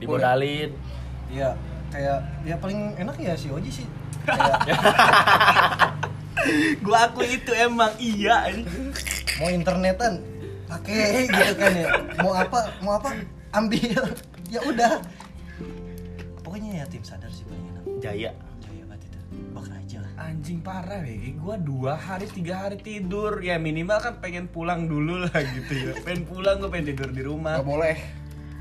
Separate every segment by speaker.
Speaker 1: dimodalin
Speaker 2: Iya, kayak ya paling enak ya si Oji sih.
Speaker 1: Ya.
Speaker 2: Kayak,
Speaker 3: gua aku itu emang iya anjing.
Speaker 2: mau internetan pakai gitu kan ya. Mau apa? Mau apa? Ambil. ya udah. Pokoknya ya tim sadar sih paling enak.
Speaker 1: jaya
Speaker 2: Jaya banget itu. Bak raja lah.
Speaker 3: anjing parah weh gua dua hari tiga hari tidur ya minimal kan pengen pulang dulu lah gitu ya pengen pulang gua pengen tidur di rumah
Speaker 4: nggak boleh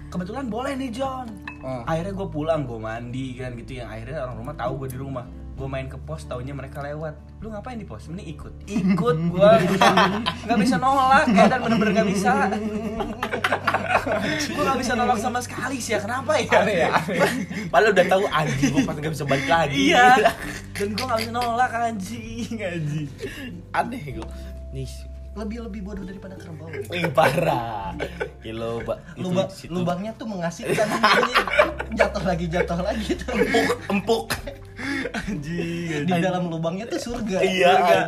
Speaker 3: kebetulan boleh nih John
Speaker 4: Ah.
Speaker 3: akhirnya gue pulang gue mandi kan gitu yang akhirnya orang rumah tahu gue di rumah gue main ke pos taunya mereka lewat lu ngapain di pos mending ikut ikut gue nggak bisa nolak ya dan bener-bener nggak bisa gue nggak bisa nolak sama sekali sih ya kenapa ya,
Speaker 1: padahal udah tahu anjing gue pasti gak bisa balik lagi
Speaker 3: iya dan gue nggak bisa nolak anjing anjing
Speaker 1: aneh gue nih
Speaker 2: Lebih lebih bodoh daripada kerbau.
Speaker 1: Wih parah Gila pak Itu
Speaker 2: Lubang,
Speaker 1: situ.
Speaker 2: lubangnya tuh mengasihkan Ini jatuh lagi jatuh lagi tuh
Speaker 1: Empuk Empuk
Speaker 3: anjing
Speaker 2: di dalam lubangnya tuh surga
Speaker 1: Iya
Speaker 2: Surga.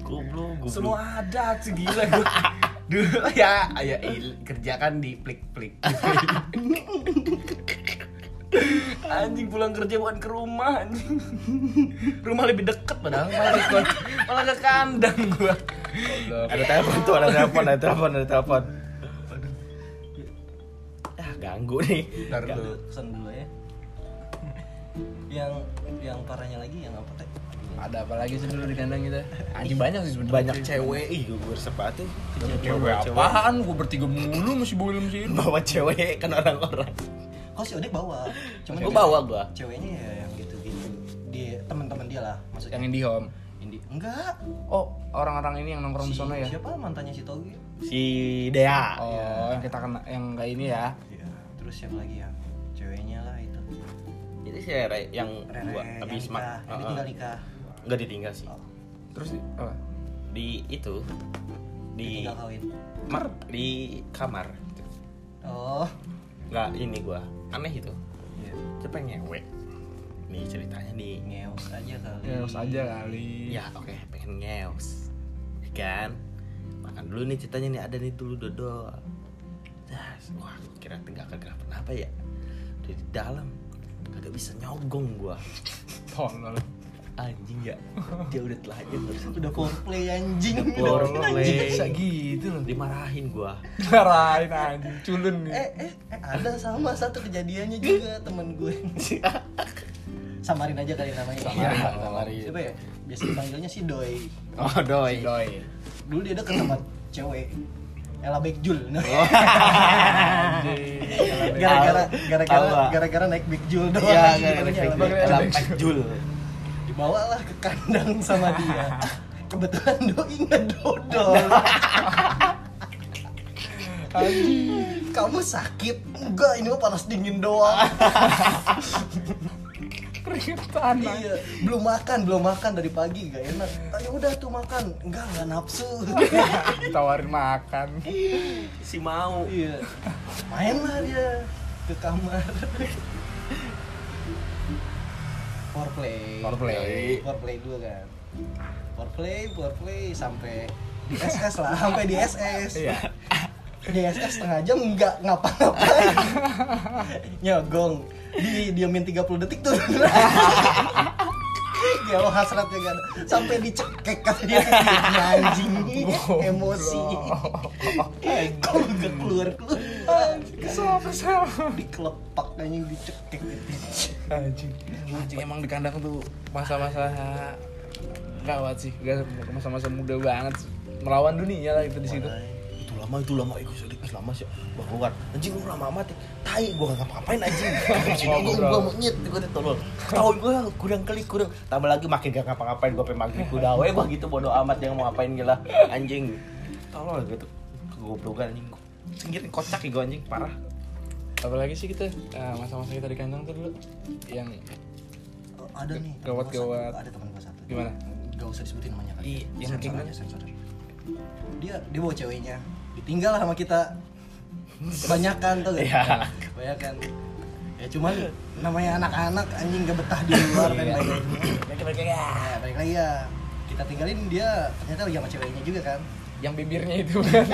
Speaker 1: Goblok goblok
Speaker 3: semua ada segila gue dulu ya ya il- kerjakan di plik plik anjing pulang kerja bukan ke rumah anjing rumah lebih deket padahal malah ke, malah ke kandang gua
Speaker 1: Ada telepon tuh ada telepon ada telepon ada telepon Ah ganggu nih
Speaker 3: Ntar
Speaker 2: Dulu,
Speaker 3: dulu.
Speaker 2: pesan dulu ya yang yang parahnya lagi yang apa teh
Speaker 4: ada apa lagi sih dulu di kandang kita anjing banyak sih sebenarnya
Speaker 1: Banyak cewek Ih gue bersepatu
Speaker 4: cewek apaan gue bertiga mulu masih boilim sih
Speaker 1: Bawa cewek kan orang-orang
Speaker 2: kok si Odek bawa cuman
Speaker 1: Gue
Speaker 2: dia-
Speaker 1: bawa gue
Speaker 2: ceweknya ya yang gitu gitu dia teman-teman dia lah maksudnya
Speaker 4: yang di home
Speaker 2: Indi enggak
Speaker 4: oh orang-orang ini yang nongkrong
Speaker 2: Si-
Speaker 4: di sono ya
Speaker 2: siapa Iya. mantannya si Togi
Speaker 1: Si Dea
Speaker 4: oh yang kita kena yang kayak ini ya
Speaker 2: Iya. terus siapa lagi ya ceweknya lah itu
Speaker 1: Itu si Rere yang
Speaker 2: Rere
Speaker 1: gua
Speaker 2: yang
Speaker 1: habis
Speaker 2: nikah,
Speaker 1: mak
Speaker 2: yang ditinggal nikah
Speaker 1: Enggak ditinggal sih
Speaker 2: Oh,
Speaker 4: terus di- apa
Speaker 1: Di itu Di
Speaker 2: ditinggal kawin
Speaker 1: mar, Di kamar
Speaker 2: oh
Speaker 1: Enggak ini gue Aneh itu
Speaker 2: iya
Speaker 1: Siapa yang ngewe? Nih ceritanya nih
Speaker 2: ngeos aja kali
Speaker 4: ya harus aja kali
Speaker 1: Ya
Speaker 2: Iya.
Speaker 1: oke pengen ngeos Ya kan Makan dulu nih ceritanya nih ada nih dulu dodol Das, Wah gua kira tegak kenapa kenapa ya Udah di dalam Kagak bisa nyogong gua
Speaker 4: tolol
Speaker 1: Anjing ya Dia udah telanjang terus
Speaker 2: udah foreplay anjing
Speaker 1: Udah foreplay.
Speaker 2: Anjing.
Speaker 4: bisa gitu loh
Speaker 1: Dimarahin gua
Speaker 4: dimarahin anjing culun nih
Speaker 2: eh, eh, eh, ada sama satu kejadiannya juga temen gue samarin aja kali namanya
Speaker 4: Samarin,
Speaker 2: Iya.
Speaker 4: samarin.
Speaker 2: siapa ya biasa dipanggilnya si doi
Speaker 4: oh doi doi
Speaker 2: dulu dia deket sama cewek Ella Backjul
Speaker 1: Oh.
Speaker 2: gara-gara gara-gara
Speaker 1: Alba.
Speaker 2: gara-gara naik Backjul doang
Speaker 1: Iya
Speaker 2: anjing,
Speaker 1: gara-gara
Speaker 2: namanya Ella
Speaker 1: efek-
Speaker 2: Backjul.
Speaker 1: dalam jul
Speaker 2: dibawa lah ke kandang sama dia kebetulan doi ngedodol kamu sakit enggak ini mah panas dingin doang
Speaker 4: keringetan anjing.
Speaker 2: iya belum makan belum makan dari pagi gak enak ayo udah tuh makan enggak enggak nafsu
Speaker 4: ditawarin makan
Speaker 1: Si mau
Speaker 2: iya main lah dia ke kamar foreplay
Speaker 4: Foreplay.
Speaker 2: foreplay dulu kan foreplay foreplay sampai di SS lah sampai di SS
Speaker 4: iya
Speaker 2: di SS setengah jam nggak ngapa-ngapain nyogong di diamin 30 detik tuh ya lo hasratnya gak ada sampai dicekek katanya Ya, anjing emosi kok gak keluar keluar
Speaker 4: kesel kesel
Speaker 2: dikelepak anjing dicekek gitu
Speaker 4: anjing anjing emang di kandang tuh masa-masa gawat sih Gak- masa-masa muda banget sih. melawan dunia lah itu di situ
Speaker 1: itu lama itu lama itu sedih itu lama sih gua keluar anjing lu lama amat ya. tai gua gak ngapa-ngapain anjing anjing gua
Speaker 4: Ngobrol.
Speaker 1: gua monyet gua tuh tolol tahun gua kurang kali kurang tambah lagi makin gak ngapa-ngapain gua pengen maghrib udah we gua gitu bodo amat yang mau ngapain gila anjing tolol gitu kegoblokan anjing sendiri kocak ya gua anjing parah
Speaker 4: apalagi sih kita eh, masa-masa kita di kandang tuh dulu yang
Speaker 2: Oh, ada nih temen
Speaker 4: Gawat,
Speaker 2: gua satu.
Speaker 4: gawat.
Speaker 2: ada teman gua satu
Speaker 4: Gimana?
Speaker 2: gak usah disebutin namanya kan
Speaker 4: Iya, yang
Speaker 2: sensor
Speaker 4: gimana?
Speaker 2: aja sensor aja. dia dia bawa ceweknya ditinggal lah sama kita kebanyakan tuh
Speaker 1: Iya.
Speaker 2: kan kebanyakan ya cuman namanya anak-anak anjing gak betah di luar kan, dan
Speaker 4: Iya.
Speaker 2: lain-lain ya balik lagi ya kita tinggalin dia ternyata lagi sama ceweknya juga kan
Speaker 4: yang bibirnya itu kan.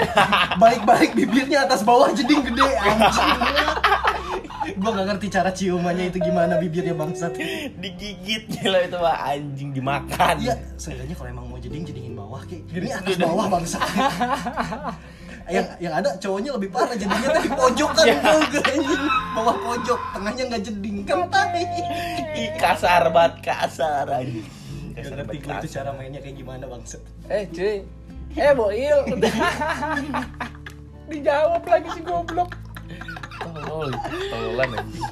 Speaker 2: balik-balik bibirnya atas bawah jadi gede anjing Gua nggak ngerti cara ciumannya itu gimana bibirnya bangsat.
Speaker 1: digigit gila itu mah anjing dimakan
Speaker 2: Iya, seenggaknya kalau emang mau jeding jedingin bawah ki. Ini atas bawah bangsat. yang yang ada cowoknya lebih parah jadinya tuh di pojokan tau gak, anjing. bawah pojok tengahnya nggak jeding kan tai
Speaker 1: Ih, kasar banget kasar anjing kasar
Speaker 2: Gak Iya, ngerti
Speaker 1: banget
Speaker 2: gua itu
Speaker 1: kasar.
Speaker 2: cara mainnya kayak gimana bangsat
Speaker 4: Eh cuy Eh boil Dijawab lagi si goblok Tolol Tololan anjing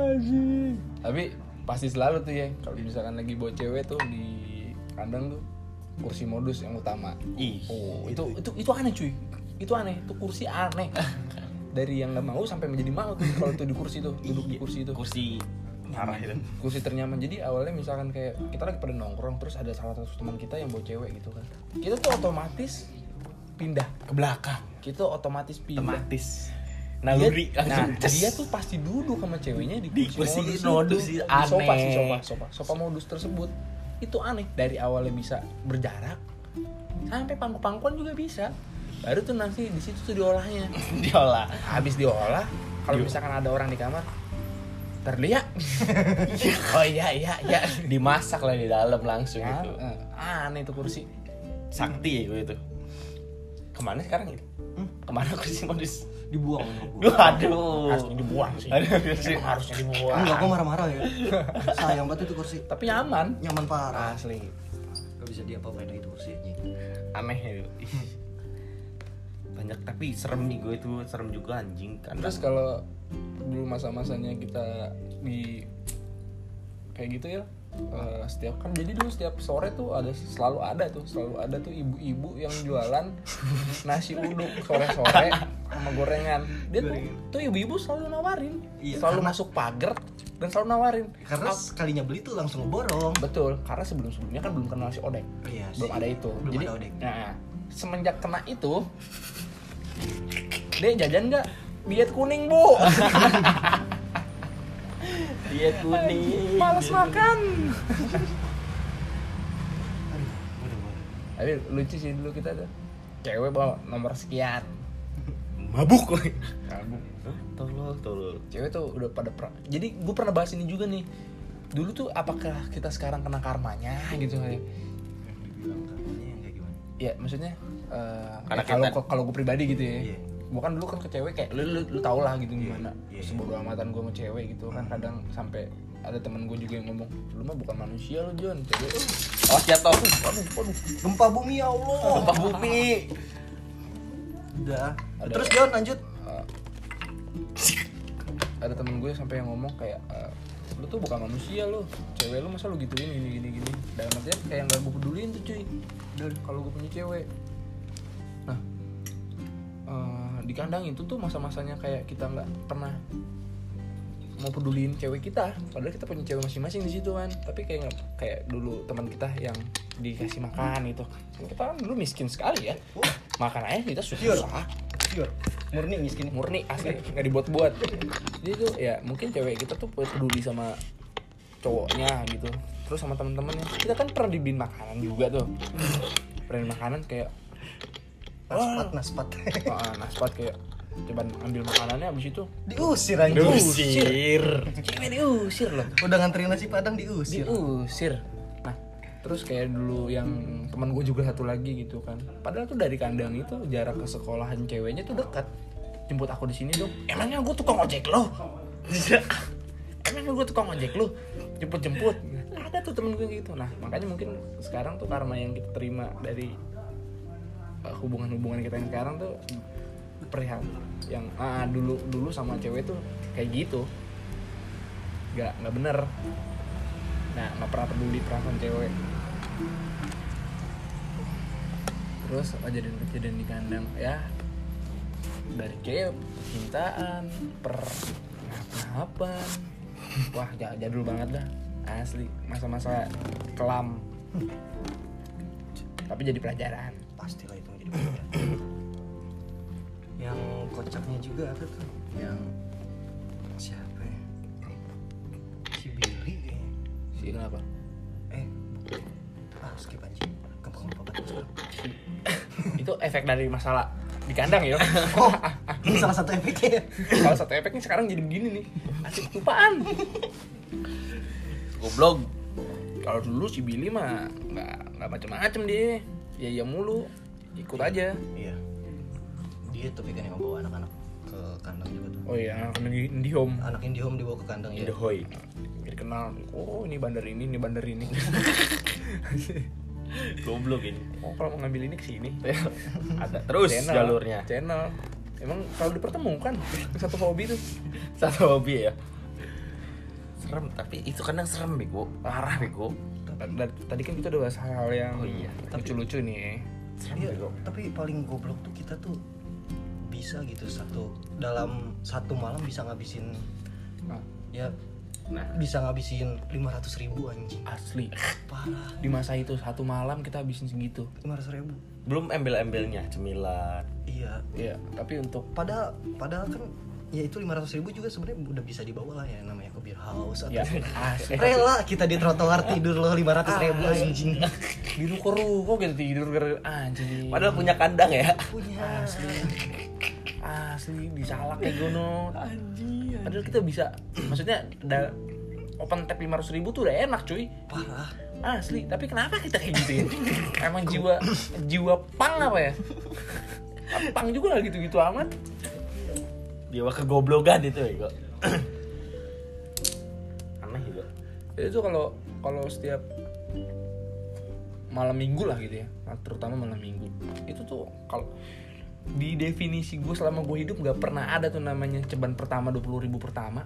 Speaker 4: Anjing Tapi pasti selalu tuh ya Kalau misalkan lagi bawa cewek tuh di kandang tuh Kursi modus yang utama
Speaker 1: Ih,
Speaker 4: Oh itu itu itu aneh cuy Itu aneh Itu kursi aneh Dari yang gak mau sampai menjadi mau tuh Kalau tuh di kursi tuh Duduk di Iya, kursi tuh
Speaker 1: kursi parah ya. itu
Speaker 4: kursi ternyaman jadi awalnya misalkan kayak kita lagi pada nongkrong terus ada salah satu teman kita yang bawa cewek gitu kan kita tuh otomatis pindah
Speaker 1: ke belakang
Speaker 4: kita otomatis
Speaker 1: Iya.
Speaker 4: pindah
Speaker 1: tematis
Speaker 4: dia,
Speaker 1: naluri
Speaker 4: nah,
Speaker 1: langsung ces.
Speaker 4: dia tuh pasti duduk sama ceweknya di
Speaker 1: Di kursi
Speaker 4: modus
Speaker 1: modus
Speaker 4: itu.
Speaker 1: itu
Speaker 4: Di sofa
Speaker 1: aneh.
Speaker 4: sih sofa sofa sofa modus tersebut itu aneh dari awalnya bisa berjarak sampai pangku pangkuan juga bisa baru tuh nanti di situ tuh diolahnya
Speaker 1: diolah
Speaker 4: habis diolah kalau misalkan ada orang di kamar terlihat oh iya iya iya
Speaker 1: ya, dimasak lah di dalam langsung
Speaker 4: Ah,
Speaker 1: gitu
Speaker 4: eh, aneh itu kursi
Speaker 1: sakti ya gue itu kemana sekarang itu kemana kursi modus
Speaker 2: dibuang
Speaker 1: Duh, aduh
Speaker 4: harusnya dibuang sih
Speaker 1: Aduh, kursi.
Speaker 4: Emang harusnya dibuang
Speaker 2: enggak gua marah-marah ya sayang banget itu kursi
Speaker 4: tapi nyaman
Speaker 2: nyaman parah
Speaker 4: asli
Speaker 2: gak bisa diapa-apain itu kursi anjing
Speaker 1: aneh itu
Speaker 4: Hmm.
Speaker 1: Ih. banyak tapi serem nih gue itu serem juga anjing kan
Speaker 4: terus kalau dulu masa-masanya kita di kayak gitu ya eh, setiap kan jadi dulu setiap sore tuh ada selalu ada tuh selalu ada tuh ibu-ibu yang jualan nasi uduk sore-sore sama gorengan dia tuh, tuh ibu-ibu selalu nawarin
Speaker 2: Iya,
Speaker 4: selalu masuk pagar dan selalu nawarin
Speaker 2: karena
Speaker 4: Ap-
Speaker 2: sekalinya beli tuh langsung borong
Speaker 4: betul karena sebelum-sebelumnya kan belum kenal si odek
Speaker 2: iya
Speaker 4: belum ada itu
Speaker 2: Belum
Speaker 4: jadi
Speaker 2: ada odek.
Speaker 4: nah semenjak kena itu dia jajan nggak diet kuning bu
Speaker 1: dia kuning
Speaker 4: males makan
Speaker 2: Aduh, waduh, waduh.
Speaker 4: tapi lucu sih dulu kita tuh cewek bawa nomor sekian
Speaker 1: mabuk
Speaker 4: Kabuk.
Speaker 1: tolol tolol
Speaker 4: cewek tuh udah pada pra- jadi gue pernah bahas ini juga nih dulu tuh apakah kita sekarang kena karmanya gitu kali
Speaker 2: yang dibilang katanya yang kayak gimana
Speaker 4: ya maksudnya eh,
Speaker 1: Karena
Speaker 4: ya kalau
Speaker 1: kita-
Speaker 4: kalau gue pribadi gitu ya
Speaker 2: Iya.
Speaker 4: gue kan dulu kan ke cewek kayak lu, lu, lu tau lah gitu
Speaker 2: Iya,
Speaker 4: gimana
Speaker 2: iya. Hmm.
Speaker 4: sebodoh amatan gue sama cewek gitu kan kadang sampai ada temen gue juga yang ngomong lu mah bukan manusia lu John cewek lu."
Speaker 1: oh jatuh
Speaker 4: waduh waduh
Speaker 2: gempa bumi ya Allah
Speaker 1: gempa bumi
Speaker 2: udah
Speaker 4: Ada.
Speaker 2: terus John lanjut
Speaker 4: Eh, ada temen gue sampai yang ngomong kayak eh, lu tuh bukan manusia lu cewek lu masa lu gituin gini gini gini dalam artian kayak nggak gue peduliin tuh cuy dan kalau gue punya cewek nah eh, di kandang itu tuh masa-masanya kayak kita nggak pernah mau peduliin cewek kita padahal kita punya cewek masing-masing di situ kan tapi kayak nggak- kayak dulu teman kita yang dikasih makan gitu kita kan dulu miskin sekali ya makan aja kita susah
Speaker 2: Pure, murni miskin
Speaker 4: murni asli nggak dibuat-buat jadi tuh ya mungkin cewek kita tuh peduli sama cowoknya gitu terus sama teman-temannya kita kan pernah dibeliin makanan juga tuh pernah dibeliin makanan kayak
Speaker 2: naspat naspat
Speaker 4: ah, naspat kayak coba ambil makanannya abis itu
Speaker 2: diusir anjing
Speaker 1: diusir
Speaker 4: cewek diusir loh
Speaker 2: udah nganterin nasi padang diusir
Speaker 4: diusir nah terus kayak dulu yang teman gue juga satu lagi gitu kan padahal tuh dari kandang itu jarak ke sekolahan ceweknya tuh dekat jemput aku di sini dong emangnya gue tukang ojek lo emangnya gue tukang ojek lo jemput jemput ada tuh temen gue gitu nah makanya mungkin sekarang tuh karma yang kita terima dari uh, hubungan-hubungan kita yang sekarang tuh perihal yang ah, dulu dulu sama cewek tuh kayak gitu nggak nggak bener nah nggak pernah peduli perasaan cewek terus kejadian-kejadian di kandang ya dari cewek percintaan per apa wah ja- jadul banget dah asli masa-masa kelam tapi jadi pelajaran
Speaker 2: pastilah itu menjadi pelajaran. yang kocaknya juga ada tuh yang siapa ya si Billy kayaknya.
Speaker 4: si ini apa
Speaker 2: eh ah skip anjing gampang lupa banget sekarang
Speaker 4: itu efek dari masalah di kandang ya
Speaker 2: oh Ini salah satu efeknya.
Speaker 4: Salah satu efeknya sekarang jadi begini nih. Asik lupaan. Goblok. Kalau dulu si Billy mah nggak nggak macem-macem dia. Ya ya mulu. Ikut aja.
Speaker 2: Iya. Dia tapi kan yang bawa anak-anak ke kandang juga tuh.
Speaker 4: Oh iya, anak di, di home.
Speaker 2: Anak Indihome dibawa ke kandang ya.
Speaker 1: Hoi.
Speaker 4: Jadi kenal. Oh ini bandar ini, ini bandar ini.
Speaker 1: Goblok ini.
Speaker 4: oh kalau mau ngambil ini ke sini.
Speaker 1: Ada terus jalurnya.
Speaker 4: Channel. Emang kalau dipertemukan satu hobi tuh.
Speaker 1: Satu hobi ya. Serem tapi itu kadang serem bego. Parah bego.
Speaker 4: Tadi- Tadi kan kita udah bahas hal-hal yang
Speaker 1: Oh iya.
Speaker 4: lucu-lucu nih. eh.
Speaker 1: Serem
Speaker 2: Iya,
Speaker 1: bego.
Speaker 2: tapi paling goblok tuh kita tuh bisa gitu satu dalam satu malam bisa ngabisin ya
Speaker 1: Nah,
Speaker 2: bisa ngabisin 500 ribu anjing
Speaker 4: Asli.
Speaker 2: parah
Speaker 4: Di masa itu satu malam kita habisin segitu.
Speaker 2: 500 ribu
Speaker 1: belum embel-embelnya cemilan.
Speaker 2: iya
Speaker 4: Iya, tapi untuk
Speaker 2: padahal padahal kan ya itu 500 ribu juga sebenarnya udah bisa dibawa lah ya namanya ke beer house atau
Speaker 4: ya asli.
Speaker 2: rela kita di trotoar tidur loh 500 ribu anjing
Speaker 4: di ruko-ruko kita tidur gara gitu, anjing.
Speaker 1: Padahal punya kandang ya.
Speaker 2: punya
Speaker 4: asli disalak kayak gono.
Speaker 1: Anjir.
Speaker 4: Padahal kita bisa maksudnya ada open tap 500 ribu tuh udah enak cuy
Speaker 2: parah
Speaker 4: asli tapi kenapa kita kayak gitu ya emang jiwa jiwa pang apa ya pang juga gitu gitu amat
Speaker 1: Dewa kegoblokan itu
Speaker 4: ya,
Speaker 1: bego. Aneh ya, juga.
Speaker 4: Jadi Ya, itu kalau kalau setiap malam minggu lah gitu ya nah, terutama malam minggu itu tuh kalau di definisi gue selama gue hidup nggak pernah ada tuh namanya ceban pertama 20.000 ribu pertama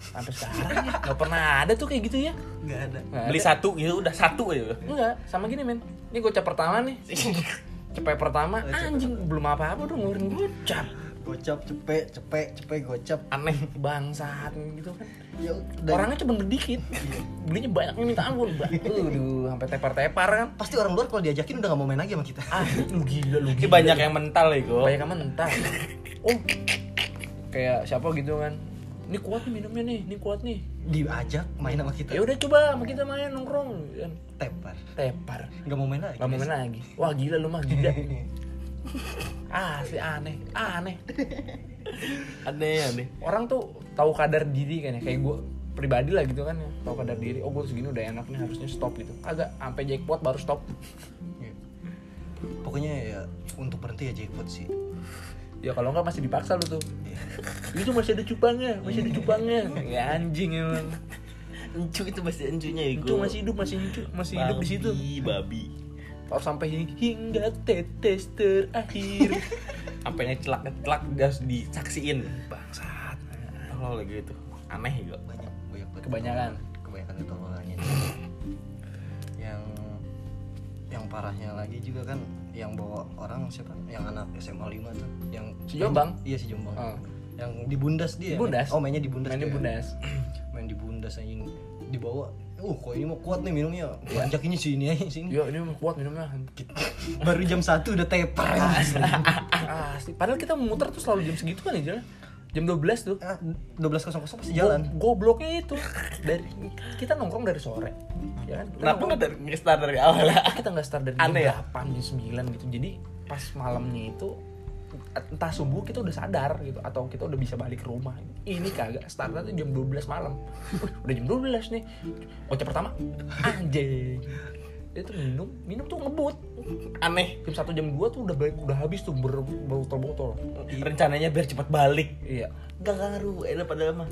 Speaker 4: sampai sekarang ya, nggak pernah ada tuh kayak gitu ya
Speaker 2: nggak ada
Speaker 4: Nggak
Speaker 1: Beli
Speaker 4: ada.
Speaker 1: satu gitu udah satu aja.
Speaker 4: enggak sama gini men ini gocap pertama nih cepet pertama anjing belum apa-apa udah ngeluarin gocap
Speaker 2: gocap cepet cepet cepet gocap
Speaker 4: aneh bangsat gitu kan
Speaker 2: ya udah.
Speaker 4: orangnya cuma dikit belinya banyaknya minta ampun Ba- aduh sampai tepar-tepar kan
Speaker 2: pasti orang luar kalau diajakin udah nggak mau main lagi sama kita
Speaker 4: ah lu gila lu
Speaker 1: Ini
Speaker 4: gila
Speaker 1: banyak ya, yang mental bego.
Speaker 4: banyak yang mentah oh kayak siapa gitu kan ini kuat nih minumnya nih ini kuat nih
Speaker 2: diajak main sama kita
Speaker 4: ya udah coba sama kita main nongkrong gitu kan
Speaker 2: tepar
Speaker 4: tepar
Speaker 2: nggak mau main lagi Iya.
Speaker 4: lama main lagi wah gila lu mah gila ah si aneh aneh
Speaker 1: Aneh aneh.
Speaker 4: orang tuh tahu kadar diri kan ya kayak gue pribadi lah gitu kan ya tahu kadar diri oh gue segini udah enak nih harusnya stop gitu agak sampai jackpot baru stop
Speaker 2: Iya. pokoknya ya untuk berhenti ya jackpot sih
Speaker 4: ya kalau enggak masih dipaksa lu tuh itu masih ada cupangnya masih ada cupangnya ya anjing emang
Speaker 1: Encu itu masih encunya bego.
Speaker 4: itu masih hidup masih hidup masih hidup di situ
Speaker 1: Babi, Babi.
Speaker 4: harus sampai hi- hingga tetes terakhir
Speaker 1: Sampai ngecelak ngecelak dia harus disaksiin.
Speaker 4: bangsat
Speaker 1: Kalau lagi itu gitu. aneh ya, bego.
Speaker 2: banyak banyak banget.
Speaker 4: Kebanyakan.
Speaker 2: kebanyakan itu tolongannya yang yang parahnya lagi juga kan yang bawa orang siapa yang anak SMA 5 tuh yang
Speaker 4: Si Jombang?
Speaker 2: iya si Jombang
Speaker 4: Ah.
Speaker 2: yang di Bundas dia
Speaker 4: Di Bundas?
Speaker 2: oh mainnya di Bundas
Speaker 4: mainnya
Speaker 2: dia.
Speaker 4: bundas
Speaker 2: main di Bundas anjing dibawa uh kok ini mau kuat nih minumnya banyak ini sini aja sini
Speaker 1: Iya.
Speaker 4: yo Iya, ini kuat minumnya
Speaker 2: baru jam satu udah tepar
Speaker 1: Iya.
Speaker 4: asli Ah, padahal kita muter tuh selalu jam segitu kan ya jalan jam 12 tuh
Speaker 2: Ah, dua belas kosong kosong pasti jalan
Speaker 4: Go- gobloknya itu dari kita nongkrong dari sore ya kan Kita
Speaker 1: Kenapa
Speaker 4: nongkrong-
Speaker 1: nggak dari nge-start dari awal ya?
Speaker 4: kita nggak start dari
Speaker 1: Aneh ya?
Speaker 4: jam 8 jam 9 gitu jadi pas malamnya itu entah subuh kita udah sadar gitu atau kita udah bisa balik ke rumah ini kagak startnya tuh jam 12 malam Wih, udah jam 12 nih kocak pertama anjing dia tuh minum minum tuh ngebut
Speaker 1: Aneh.
Speaker 4: jam 1 jam 2 tuh udah ba- udah habis tuh ber- berbotol-botol
Speaker 1: Rencananya biar cepat balik.
Speaker 4: iya
Speaker 1: Gak ngaruh, enak padahal mah.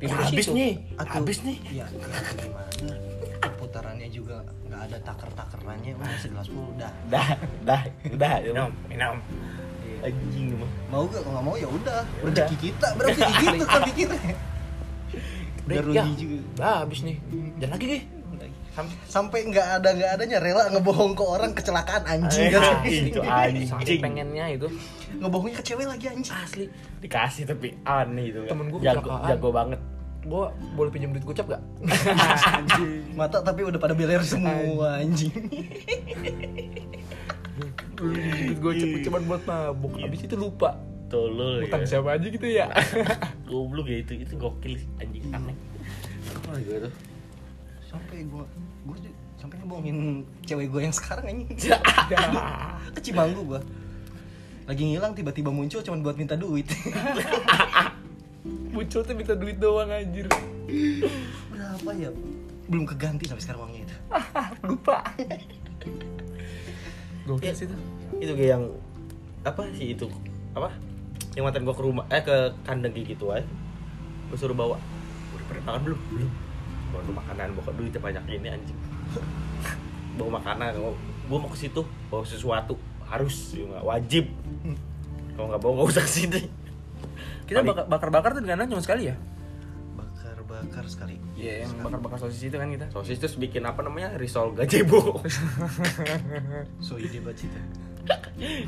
Speaker 1: Ya,
Speaker 4: Tidur di
Speaker 1: habis
Speaker 4: situ.
Speaker 1: nih,
Speaker 2: Atau-
Speaker 1: habis nih.
Speaker 2: ya gimana putarannya juga nggak ada taker takerannya udah sebelas puluh udah
Speaker 1: Dah, dah, udah. ya,
Speaker 4: minum
Speaker 1: Bang.
Speaker 4: minum
Speaker 1: Anjing mah.
Speaker 2: mau gak kalau nggak mau ya udah
Speaker 4: Udah.
Speaker 2: rezeki kita berarti gitu
Speaker 1: Iya.
Speaker 2: tapi kita udah
Speaker 4: Udah,
Speaker 2: rugi
Speaker 4: ya.
Speaker 2: juga
Speaker 4: udah habis nih jangan lagi gih Sampai
Speaker 2: sampai nggak ada nggak adanya rela ngebohong ke orang kecelakaan anjing
Speaker 1: Ah,
Speaker 2: Nggak-
Speaker 1: itu anjing.
Speaker 4: Saking pengennya itu
Speaker 2: ngebohongnya ke cewek lagi anjing
Speaker 4: asli
Speaker 1: Dikasih tapi aneh itu. Kak.
Speaker 4: Temen gua
Speaker 1: jago,
Speaker 4: kecelakaan.
Speaker 1: jago banget.
Speaker 4: gue boleh pinjam duit gocap gak?
Speaker 2: mata tapi udah pada beler semua anjing
Speaker 4: duit gocap cuma buat mabuk habis itu lupa
Speaker 1: Tolol
Speaker 4: utang
Speaker 1: ya.
Speaker 4: siapa aja gitu ya
Speaker 1: Goblok ya itu, itu gokil sih, anjing aneh. Apa lagi itu?
Speaker 2: sampai gua gua tuh sampai ngebohongin cewek gua yang sekarang anjing
Speaker 4: Ya.
Speaker 2: ke Cimanggu gua lagi ngilang tiba-tiba muncul cuman buat minta duit
Speaker 4: Muncul tuh minta duit doang anjir.
Speaker 2: berapa ya belum keganti sampai sekarang uangnya itu
Speaker 4: Lupa. Gokil sih tuh.
Speaker 1: itu kayak yang apa sih itu apa yang mantan gua ke rumah eh ke kandang kayak gitu aja gua suruh bawa udah pernah makan belum belum bawa makanan bawa duit banyak ini anjing bawa makanan gua, gua mau ke situ bawa sesuatu harus ya nggak wajib kalau nggak bawa nggak usah ke sini
Speaker 4: Kita
Speaker 1: Paling-
Speaker 4: bakar- bakar-bakar tuh dengan cuma sekali ya?
Speaker 2: bakar-bakar sekali
Speaker 4: Iya, yang bakar-bakar sosis itu kan kita.
Speaker 1: sosis terus bikin apa namanya risol gazebo
Speaker 2: so ide banget sih itu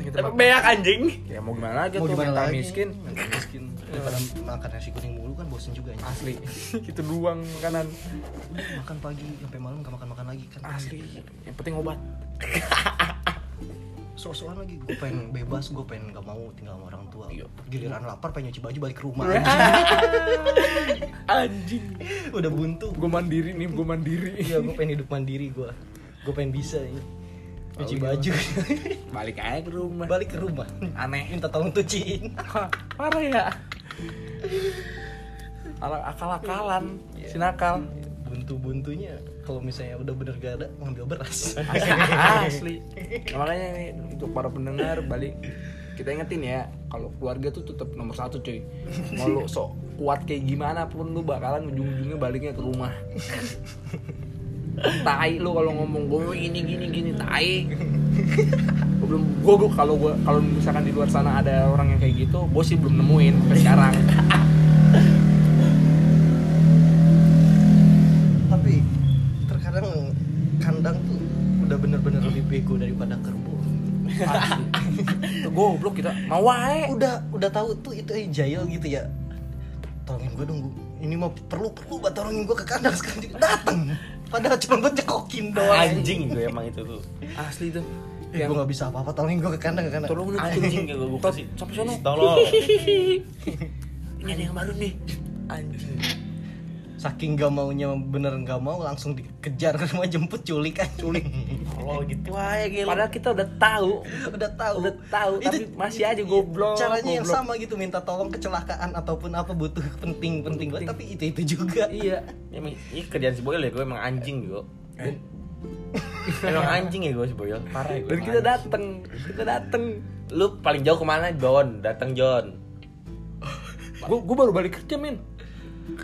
Speaker 4: Kita
Speaker 1: tapi
Speaker 4: bakar.
Speaker 1: banyak anjing
Speaker 4: Ya mau gimana aja
Speaker 2: Mau
Speaker 4: tuh
Speaker 2: gimana
Speaker 4: mental
Speaker 2: lagi?
Speaker 4: miskin Iya.
Speaker 2: Mental miskin daripada makan nasi kuning mulu kan bosen juga ya
Speaker 4: asli. Itu doang makanan
Speaker 2: makan pagi sampai malam gak makan makan lagi kan
Speaker 4: asli. Yang penting obat.
Speaker 2: soal-soal lagi gue pengen bebas gue pengen gak mau tinggal sama orang tua
Speaker 4: Iya.
Speaker 2: giliran lapar pengen nyuci baju balik ke rumah
Speaker 4: Anjing.
Speaker 2: udah buntu
Speaker 4: Gue mandiri nih, gue mandiri.
Speaker 2: iya gue pengen hidup mandiri gue gue pengen bisa ya. cuci
Speaker 4: Oh, iya.
Speaker 2: baju
Speaker 4: Balik aja ke rumah.
Speaker 2: balik ke rumah
Speaker 4: Aneh.
Speaker 2: minta tolong cuciin
Speaker 4: Parah ya. Ala akal-akalan, si nakal.
Speaker 2: buntu-buntunya kalau misalnya udah bener gak ada ngambil beras
Speaker 4: Asli. Nah, makanya ini untuk para pendengar balik kita ingetin ya kalau keluarga tuh tetap nomor satu cuy mau lu sok kuat kayak gimana pun lu bakalan ujung-ujungnya baliknya ke rumah tai lu kalau ngomong gue ini gini gini tai Gua belum gue kalau gua kalau misalkan di luar sana ada orang yang kayak gitu gue sih belum nemuin sampai sekarang
Speaker 2: tapi terkadang kandang tuh udah bener-bener lebih bego daripada kerbau
Speaker 4: Asli. Tuh, goblok kita mau wae
Speaker 2: Eh, udah udah tahu tuh itu eh, jail gitu ya tolongin gue dong Bu. ini mah perlu perlu buat tolongin gue ke kandang sekarang juga dateng padahal cuma buat nyekokin doang
Speaker 1: anjing gue emang itu tuh
Speaker 4: asli tuh
Speaker 2: Eh, gue gak bisa apa-apa tolongin gue ke kandang ke kandang
Speaker 4: tolong lu
Speaker 1: anjing gue gue
Speaker 4: Top,
Speaker 1: kasih
Speaker 4: sampai sono.
Speaker 1: tolong
Speaker 4: ini ada yang baru nih anjing
Speaker 2: saking gak maunya bener gak mau langsung dikejar ke rumah jemput culik kan culik
Speaker 1: tolong gitu aja gila
Speaker 4: padahal kita udah tahu
Speaker 2: udah tahu iya,
Speaker 4: udah tahu tapi masih aja goblok
Speaker 2: caranya yang
Speaker 4: goblok.
Speaker 2: sama gitu minta tolong kecelakaan ataupun apa butuh penting penting banget tapi itu itu juga
Speaker 4: iya
Speaker 1: Emang ini kerjaan si Boyol ya, gue emang anjing gue. emang anjing ya gue si Boyol, parah ya gue.
Speaker 4: dan
Speaker 1: emang
Speaker 4: kita
Speaker 1: anjing.
Speaker 4: dateng kita dateng
Speaker 1: Lu paling jauh kemana, John? Datang John.
Speaker 4: gua gua baru balik kerja men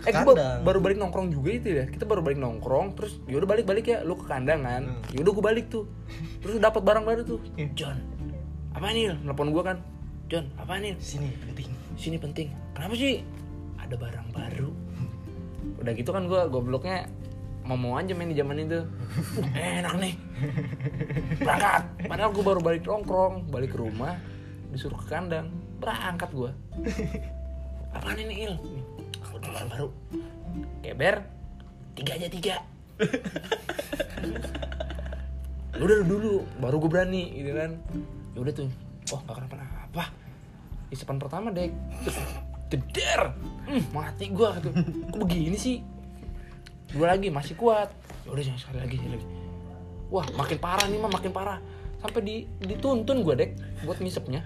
Speaker 4: Eh, gua
Speaker 2: Kandang.
Speaker 4: ba- baru balik nongkrong juga itu ya. Kita baru balik nongkrong, terus yaudah balik balik ya, lu ke kandang kan.
Speaker 1: Hmm.
Speaker 4: Yaudah gua balik tuh. Terus dapat barang baru tuh. John, apa nih? Telepon gua kan. John, apa nih?
Speaker 2: sini penting
Speaker 4: sini penting kenapa sih ada barang baru udah gitu kan gue gobloknya mau mau aja main di zaman itu Eh, enak nih berangkat padahal gue baru balik nongkrong balik ke rumah disuruh ke kandang berangkat gue apaan ini il aku ada barang baru keber tiga aja tiga lu udah dulu baru gue berani gitu kan ya udah tuh oh gak kenapa-napa isipan pertama dek jeder Hmm, mati gua tuh kok begini sih dua lagi masih kuat ya udah jangan sekali lagi sekali lagi wah makin parah nih mah makin parah sampai di dituntun gua dek buat ngisepnya